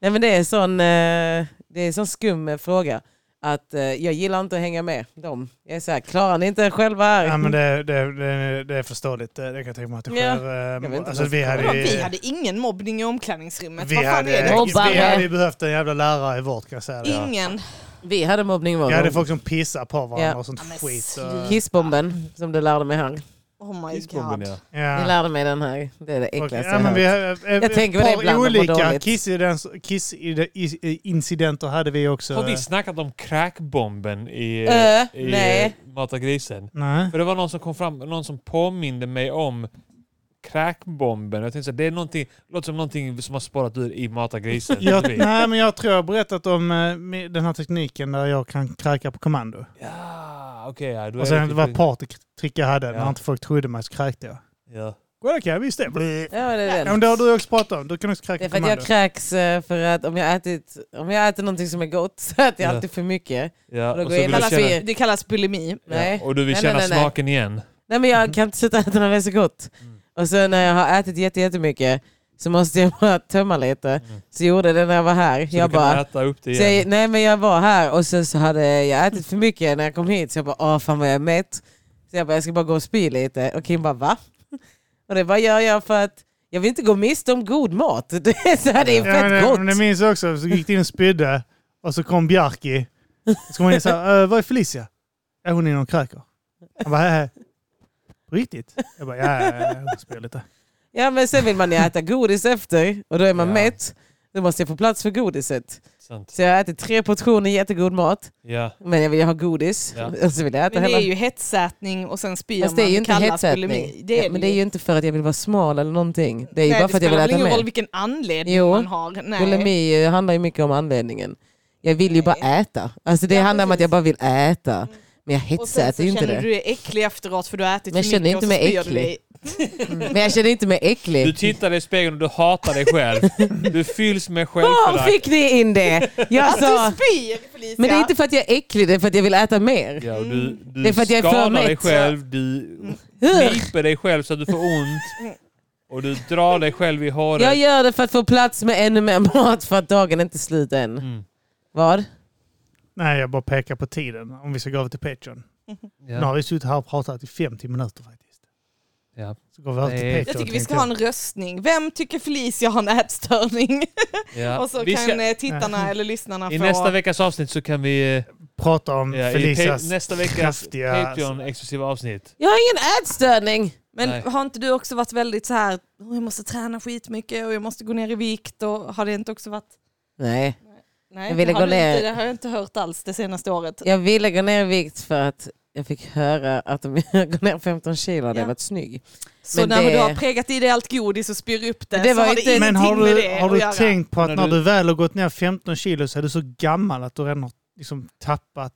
Nej men det är sån, eh, det är sån skum eh, fråga. Att eh, jag gillar inte att hänga med dem. Jag är så här, klarar ni inte er själva här?
Ja, men det, det, det, det är förståeligt. Det det kan jag tänka mig att det
Ja.
sker.
vet
ehm,
inte
Alltså,
vad
vi
jag ska
hade, ju-
Vi hade ingen mobbning i omklädningsrummet.
vi,
Vad fan är det?
hade, vi
Mobbare.
hade ju behövt en jävla lärare i vårt, kan jag säga. det.
Ingen.
Vi hade mobbning i vår
Vi hade
grupp.
folk som pissade på varandra
Ja.
och sånt
Ja, men
skit. Så,
sluta.
Kissbomben som du lärde mig här.
Oh my
Kissbomben,
god.
ja.
Du
ja.
lärde mig den här. Det är det
Och-
äckligaste
ja, men vi
jag hört.
hade, eh, ett
tänker på det
par
ibland, att man mår
olika
dåligt.
kissincidens- kissincidenter hade vi också.
Har vi snackat om crackbomben i,
Äh,
i
nej.
eh, Mata grisen?
Nej.
För det var någon som kom fram, någon som påminde mig om crackbomben. Jag tänkte så här, det är någonting, låter som någonting som har spårat ur i Mata grisen.
Jag, nej, men jag tror jag har berättat om eh, med den här tekniken där jag kan kräka på kommando.
Ja, okej. ja, då är
Och sen
typ-
det var ett partytrick jag hade.
Ja.
När inte folk trodde mig så kräkte jag.
Ja.
Well, okay, visst det. Bli.
Ja, det är
Ja, men
den.
det har du också pratat om. Du kan också
Det är
kräka
för att
kommando.
jag kräks eh, för att om jag ätit, om jag äter någonting som är gott så äter jag
Ja.
alltid för mycket.
Ja,
Och då
och, så
går jag
vill
in
du
alla
känna,
Det kallas bulimi.
Nej.
ja, och du vill
Nej,
känna
nej, nej, nej.
smaken igen.
Nej men
Mm.
jag kan inte sluta äta när det är så gott. Och så när jag har ätit jätte, jättemycket så måste jag bara tömma lite. Så gjorde jag det när jag var här.
Mm. Så
jag
du kan
bara,
äta upp det
så
igen.
jag, nej men jag var här och så, så hade jag ätit för mycket när jag kom hit så jag bara åh fan vad jag är mätt. Så jag bara jag ska bara gå och spy lite och Kim bara va? Och det bara gör jag för att jag vill inte gå miste om god mat. Det är, så här, det är
Ja, men
fett
det,
gott.
men det minns jag också. Så gick det in och spydde och så kom Bjarki. Så kom han in och sa, "Eh, var är Felicia? Är hon inne och kräker? Han bara, "Eh, på riktigt? Jag bara, ja, ja, ja, hon spyr lite.
Ja men sen vill man ju äta godis efter och då är man
Ja.
mätt. Då måste jag få plats för godiset.
Sant.
Så jag äter tre portioner jättegod mat.
Ja.
Men jag vill ju ha godis.
Ja.
Och så vill jag äta
Men det är
hela.
ju hetsätning och sen spyr
Fast det är
man.
ju inte
kallas
hetsätning.
bulimi.
Det är, ja, men det är ju inte för att jag vill vara smal eller någonting. Det är ju
Nej,
bara för att jag vill äta
spelar väl ingen roll
mer.
vilken anledning
Jo.
man har. Nej.
Bulimi eh, handlar ju mycket om anledningen. Jag vill ju bara äta. Alltså det
Ja,
handlar om att
precis. Mm.
jag bara vill äta. Men jag
Och sen så
hetsäter ju inte
känner
det.
du dig äcklig efteråt för du har ätit
Men jag
för
känner
mycket
inte
och så
mig
spyr du
äcklig.
dig.
Men jag känner inte mig
Du
äcklig.
tittar dig i spegeln och du hatar dig själv. Du fylls med
Var
självförakt.
fick ni in det? Jag sa...
Du spyr Felicia!
Men det är inte för att jag är äcklig, det är för att jag vill äta mer.
Ja, och du, du
Det är för att jag är för
skadar dig
mätt.
själv, du
Hur?
kniper dig själv så att du får ont. Och du drar dig själv i håret.
Jag gör det för att få plats med ännu mer mat för att dagen är inte slut än.
Mm.
Vad?
Nej, jag bara pekar på tiden. Om vi ska gå över till Patreon. Nu har
Ja.
vi suttit här och pratat i 50 minuter faktiskt.
Ja.
Så går vi över till
Nej.
Patreon.
Jag tycker vi
tänkte
ska ha en röstning. Vem tycker Felicia har en ätstörning?
Ja.
Och så
Vi
kan
ska-
eh, tittarna eller lyssnarna
I
få...
nästa veckas avsnitt så kan vi... eh,
Prata om
Ja, i
Felicias
pa- nästa veckas
kraftiga...
Patreon-exklusiva avsnitt.
Jag har ingen ätstörning!
Men
Nej.
har inte du också varit väldigt så här, "Åh, jag måste träna skitmycket och jag måste gå ner i vikt och har det inte också varit...
Nej.
Nej,
Jag ville
det, har
gå
du
ner.
Inte, det har jag inte hört alls det senaste året.
Jag ville gå ner i vikt för att jag fick höra att om jag går ner 15 kilo hade
Ja.
jag varit snygg.
Så
Men
när
det-
du har pregat i dig allt godis och spyr upp det,
Det
så
var
har
inte-
det
Men har
ingenting med
du,
det
har
att
du
göra.
tänkt på att
När
när
du-
du väl har gått ner 15 kilo så är du så gammal att du redan har liksom tappat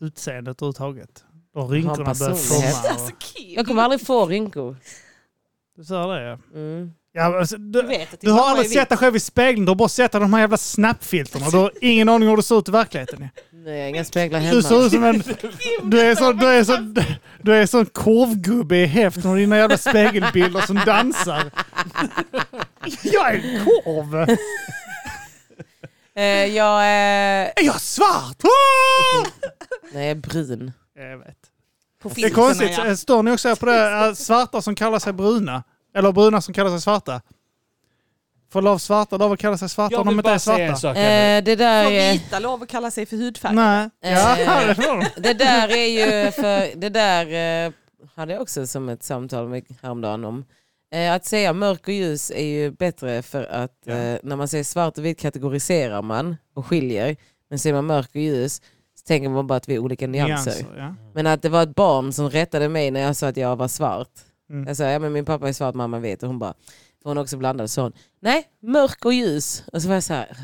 utseendet överhuvudtaget? Och rynkorna börjar
personlighet.
forma.
Alltså,
Och...
Kim,
Jag kommer aldrig få rynkor.
Du sa det ja.
Mm.
ja men alltså,
du
du,
vet att
du
din
har
mamma är
aldrig
vit.
sett dig själv i spegeln, du har bara sett dig i de här jävla snappfilterna. Du har ingen aning om hur du ser ut i verkligheten.
Nej, jag har inga speglar
Du ser
hemma.
ut som en... Du är så, du är så, du är så en korvgubbe i häften och dina jävla spegelbilder som dansar. Jag är en korv!
Eh, jag är...
Är jag svart? Ah!
Nej, jag är brun.
Jag vet.
På
Det är
filterna,
konstigt.
ja.
Står ni också här på det? Äh, Svarta som kallar sig bruna. Eller bruna som kallar sig svarta. Får lov svarta lov att kalla sig svarta
Jag
om de
vill
inte är
bara säga en
svarta.
sak. Henrik.
Eh, det, där
Får
är,
vita lov att kalla sig för hudfärg?
Nej. Ja, Alltså,
Eh.
det får de.
det där är ju... För, det där eh, hade jag också som ett samtal med häromdagen om. Eh, att säga mörk och ljus är ju bättre för att
Ja.
eh, när man säger svart och vit kategoriserar man och skiljer. Men säger man mörk och ljus Så tänker man bara att vi är olika nyanser.
Nyanser, ja.
Men att det var ett barn som rättade mig när jag sa att jag var svart.
Mm.
Jag sa, ja men min pappa är svart, mamma vet. Och hon bara, för hon är också blandad, så hon, nej, mörk och ljus. Och så var jag så här, "Ugh."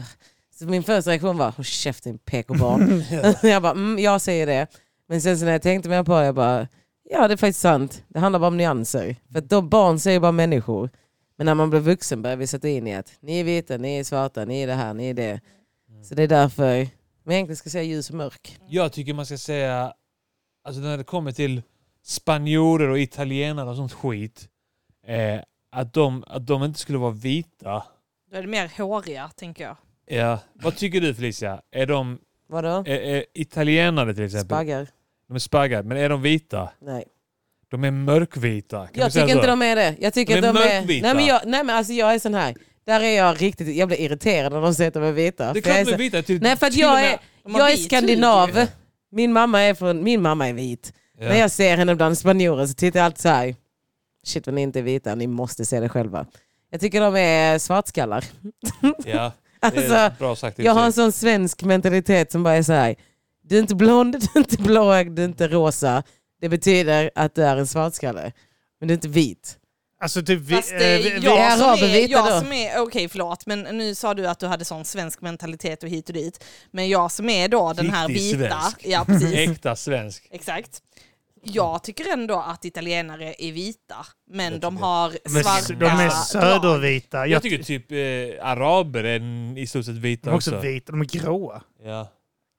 så min första reaktion var, håll käften PK-barn. jag bara, mm, jag säger det. Men sen så när jag tänkte mer på det, jag bara, ja det är faktiskt sant. Det handlar bara om nyanser. För att de barn säger bara människor. Men när man blir vuxen börjar vi sätta in i att ni är vita, ni är svarta, ni är det här, ni är det. Så det är därför man egentligen ska säga ljus och mörk.
Jag tycker man ska säga, alltså när det kommer till spanjorer och italienare och sånt skit, eh, att, de, att de inte skulle vara vita.
Då är det mer håriga, tänker jag.
Ja. Vad tycker du Felicia? Är de
Vadå?
är, är italienare till exempel?
Spaggar?
De är spaggar, men är de vita?
Nej.
De är mörkvita. Kan vi
Jag
säga
tycker
så?
inte de är det. Jag tycker
De är
att de är...
mörkvita.
Nej men, jag, nej men alltså jag är sån här. Där är jag riktigt... Jag blir irriterad när de säger att de är vita.
Det är
För jag
klart
är
de
så-
är vita. typ- Till,
Nej för att
till och
jag
med-
är,
har
jag är
vit hud.
skandinav. Min mamma är från... Min mamma är vit.
Ja.
När jag ser henne bland spanjorer så tittar jag alltid så här. Shit vad ni inte är vita, ni måste se det själva. Jag tycker de är svartskallar.
Ja, det är typ
Alltså,
bra sagt. i och
jag
för
har en
sig.
sån svensk mentalitet som bara är så här. Du är inte blond, du är inte blåögd, du är inte rosa. Det betyder att du är en svartskalle. Men du är inte vit.
Alltså typ... Vi,
Fast det är
eh, vi, vi,
är
jag som
araber
är,
vita då.
jag som är okej förlåt, men nu sa du att du hade sån svensk mentalitet och hit och dit. Men jag som är då den här
Riktig
vita,
svensk.
ja precis,
Äkta svensk.
exakt. Jag tycker ändå att italienare är vita, men
Jag
de
tycker-
har
men s-
svarta
de är
drag.
södervita.
Jag,
Jag,
tycker typ eh, araber är n- i stort sett
de
vita
är
också.
också vita. De är gråa.
Ja.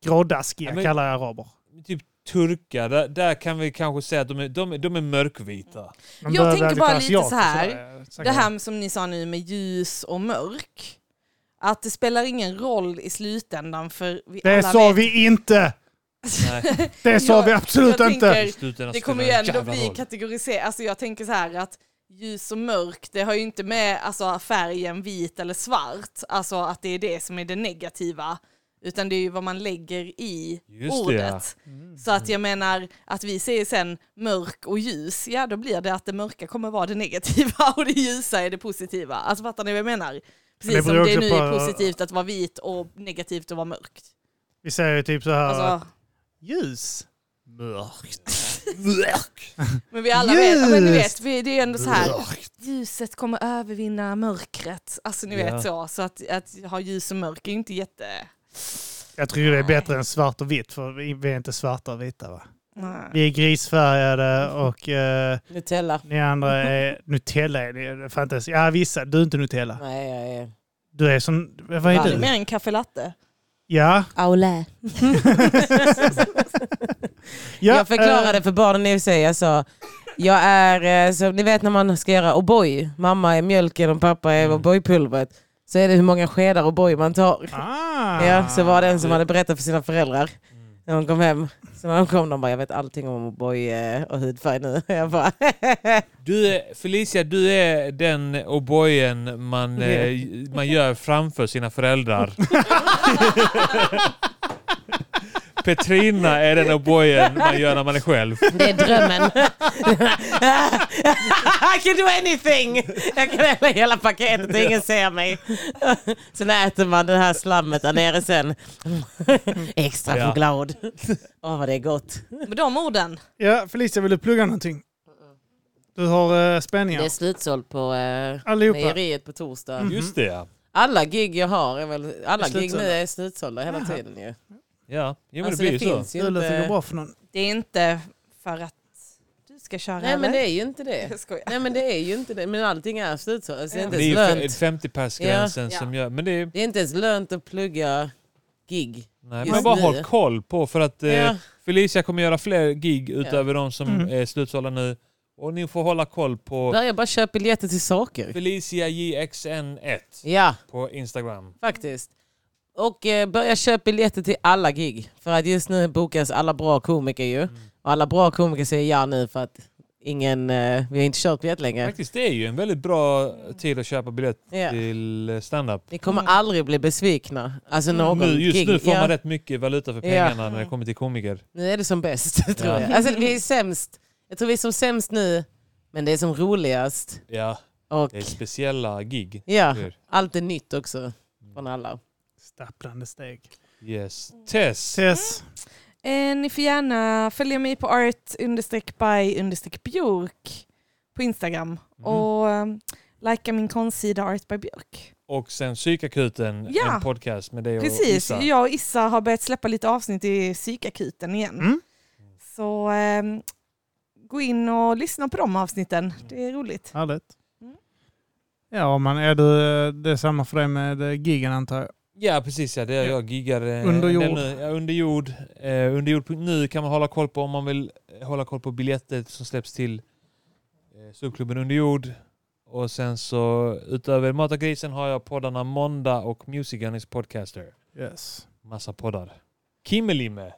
Grådaskiga
Ja, men-
kallar jag araber.
Typ turkar, där, där kan vi kanske säga att de är, de, är- de är
Mm.
mörkvita.
De
Jag
börjar
tänker
bli
bara
asiater,
lite så här.
sådär, säkert.
Det här som ni sa nu med ljus och mörk. Att det spelar ingen roll i slutändan för vi
Det
alla
sa
vet.
vi inte!
Nej,
Det sa
Jag-
vi absolut
jag
inte!
tänker-
i slutändan
Det
spelar
kommer ju
en
ändå
jävla
bli
roll.
kategoriserat. Alltså jag tänker så här att ljus och mörk, det har ju inte med alltså, färgen vit eller svart. Alltså att det är det som är det negativa. Utan det är ju vad man lägger i
Just det,
ordet.
Mm.
Så att jag menar att vi säger sen mörk och ljus, ja då blir det att det mörka kommer vara det negativa och det ljusa är det positiva. Alltså fattar ni vad jag menar? Precis
Det
som
beror
det
också
nu
på-
är positivt att vara vit och negativt att vara mörkt.
Vi säger ju typ så här...
Alltså,
Ljus. Mörkt.
men vi alla vet, ja, men ni
Ljust.
vet, vi, det är ändå så här, ljuset kommer övervinna mörkret. Alltså ni
Ja.
vet så, så att, att ha ljus och mörk är ju inte jätte...
Jag tror det är bättre än svart och vitt, för vi vi är inte svarta och vita va?
Nej.
Vi är grisfärgade och eh,
Nutella.
ni andra är Nutella. Är det fantastiskt. Ja vissa, du är inte Nutella.
Nej, jag är...
Du är som, vad är
Ja,
Det är
du?
mer en kaffelatte.
Ja.
Aulä.
ja eh.
jag förklarade för barnen i och för sig. Jag sa, jag är, eh, så, ni vet när man ska göra O'boy. Mamma är mjölken och pappa är
Mm.
O'boy-pulvret. Så är det hur många skedar O'boy man tar.
eh, ah. Mm.
Ja, så var det en som hade berättat för sina föräldrar när de kom hem. Så när de kom de bara, jag vet allting om O'boy eh, och hudfärg nu. Jag bara,
Du är, Felicia, du är den O'boyen man, eh, man gör framför sina föräldrar. Petrina är den O'boyen man gör när man är själv.
Mm-hmm.
det är drömmen. I can do anything! Jag kan äta hela paketet och ingen ser mig. Sen äter man det här slammet där nere sen. Extra
Ja.
choklad. Åh vad det är gott.
Med de orden.
Ja, Felicia, vill du plugga någonting? Du har eh, spänningar.
Det är slutsålt på eh,
Allihopa.
mejeriet på torsdag.
Just det ja.
Alla gig jag har, är väl, alla
Är
gig nu
slutsålda.
är slutsålda hela tiden ju.
Ja, jo, men
Alltså,
det
det,
blir ju så.
finns ju
Det låter
inte...
bra för någon.
Det är inte för att du ska köra
Nej men
eller?
det är ju inte det.
Jag skojar.
Nej men det är ju inte det. Men allting är slutsålt. Alltså, det
Ja.
är inte
Det
ens
är ju
lönt.
fe- 50-persgränsen
Ja.
som gör... Men det är,
Det är inte ens lönt att plugga gig.
nej,
Just
man bara
nu.
håll koll på för att eh,
Ja.
Felicia kommer göra fler gig utöver de som
Mm.
är slutsålda nu. Och ni får hålla koll på
Börja bara köpa biljetter till saker.
Felicia JXN1
Ja,
på Instagram.
faktiskt. Och eh, börja köpa biljetter till alla gig. För att just nu bokas alla bra komiker ju.
Mm.
Och alla bra komiker säger ja nu för att ingen, eh, vi har inte kört biljett längre.
Faktiskt, det är ju en väldigt bra tid att köpa biljett
Ja.
till eh, standup.
Ni kommer aldrig bli besvikna. Alltså någon
Mm. Nu, just
gig.
nu får
ja.
man rätt mycket valuta för
Ja.
pengarna när det kommer till komiker.
Nu är det som bäst, tror
Ja.
jag. Alltså, vi är sämst. Jag tror vi är som sämst nu, men det är som roligast.
Ja,
Och
det är speciella gig.
ja,
Hur?
allt är nytt också från alla.
Stapplande steg.
Yes. Tess,
Tess,
Eh, ni får gärna följa mig på art by björk på Instagram
Mm.
och eh, likea min konstsida art by björk.
Och sen Psykakuten,
Ja.
en podcast med dig och
Precis,
Lisa.
jag och Issa har börjat släppa lite avsnitt i psykakuten igen.
Mm.
Så eh, gå in och lyssna på de avsnitten, det är roligt.
Härligt.
Mm.
Ja, men är du, eh, det är samma för dig med eh, gigen antar jag?
Ja, precis. Ja, det är
Ja.
jag giggar. eh,
Under jord.
nämligen- Ja, under jord. Eh, under jord. Nu kan man hålla koll på om man vill eh, hålla koll på biljetter som släpps till eh, subklubben Under jord. Och sen så utöver Mata grisen har jag poddarna Måndag och Music Gunnings Podcaster.
Yes.
Massa poddar. Kimmelimme.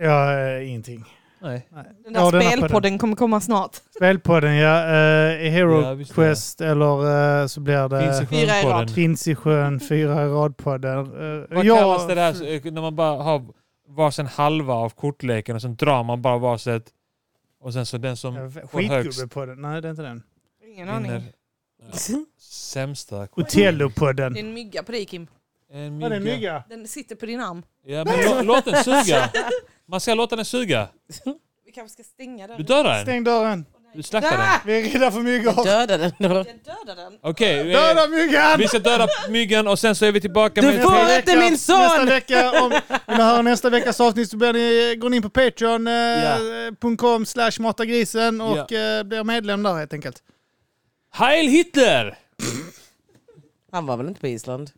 Ja, eh, ingenting.
Nej.
Den där
Ja, den här
spelpodden kommer komma snart.
Spelpodden, ja. eh, I Hero
Ja, visst,
Quest eller eh, så blir
Finns i
det
Fyra i rad.
Skönpodden.
Prins i sjön, fyra i radpodden. Eh,
Vad
jag-
kallas det där så, eh, när man bara har varsin halva av kortleken och sen drar man bara varsitt och sen så den som får högst
Skitgubbepodden, nej det är inte den.
Ingen
vinner
aning.
sämsta
Otellopodden.
Det är en mygga på dig Kim.
En
Var det en
mygga.
mygga?
Den sitter på din arm.
Ja, men lå- låt den suga. Man ska låta den suga.
Vi kanske ska stänga den.
Du dödar den.
Stäng dörren.
Du slaktar
Ah!
den.
Vi är rädda för myggor.
Döda den då.
Jag dödar den.
Okej, eh,
Döda myggan!
vi ska döda myggan och sen så är vi tillbaka
Du
med...
får-
Nästa
inte
vecka-
min son!
Nästa vecka, om vill ni höra nästa veckas avsnitt så blir ni, går ni in på patreon.com slash matagrisen och eh, blir medlem där helt enkelt.
Heil Hitler!
Han var väl inte på Island?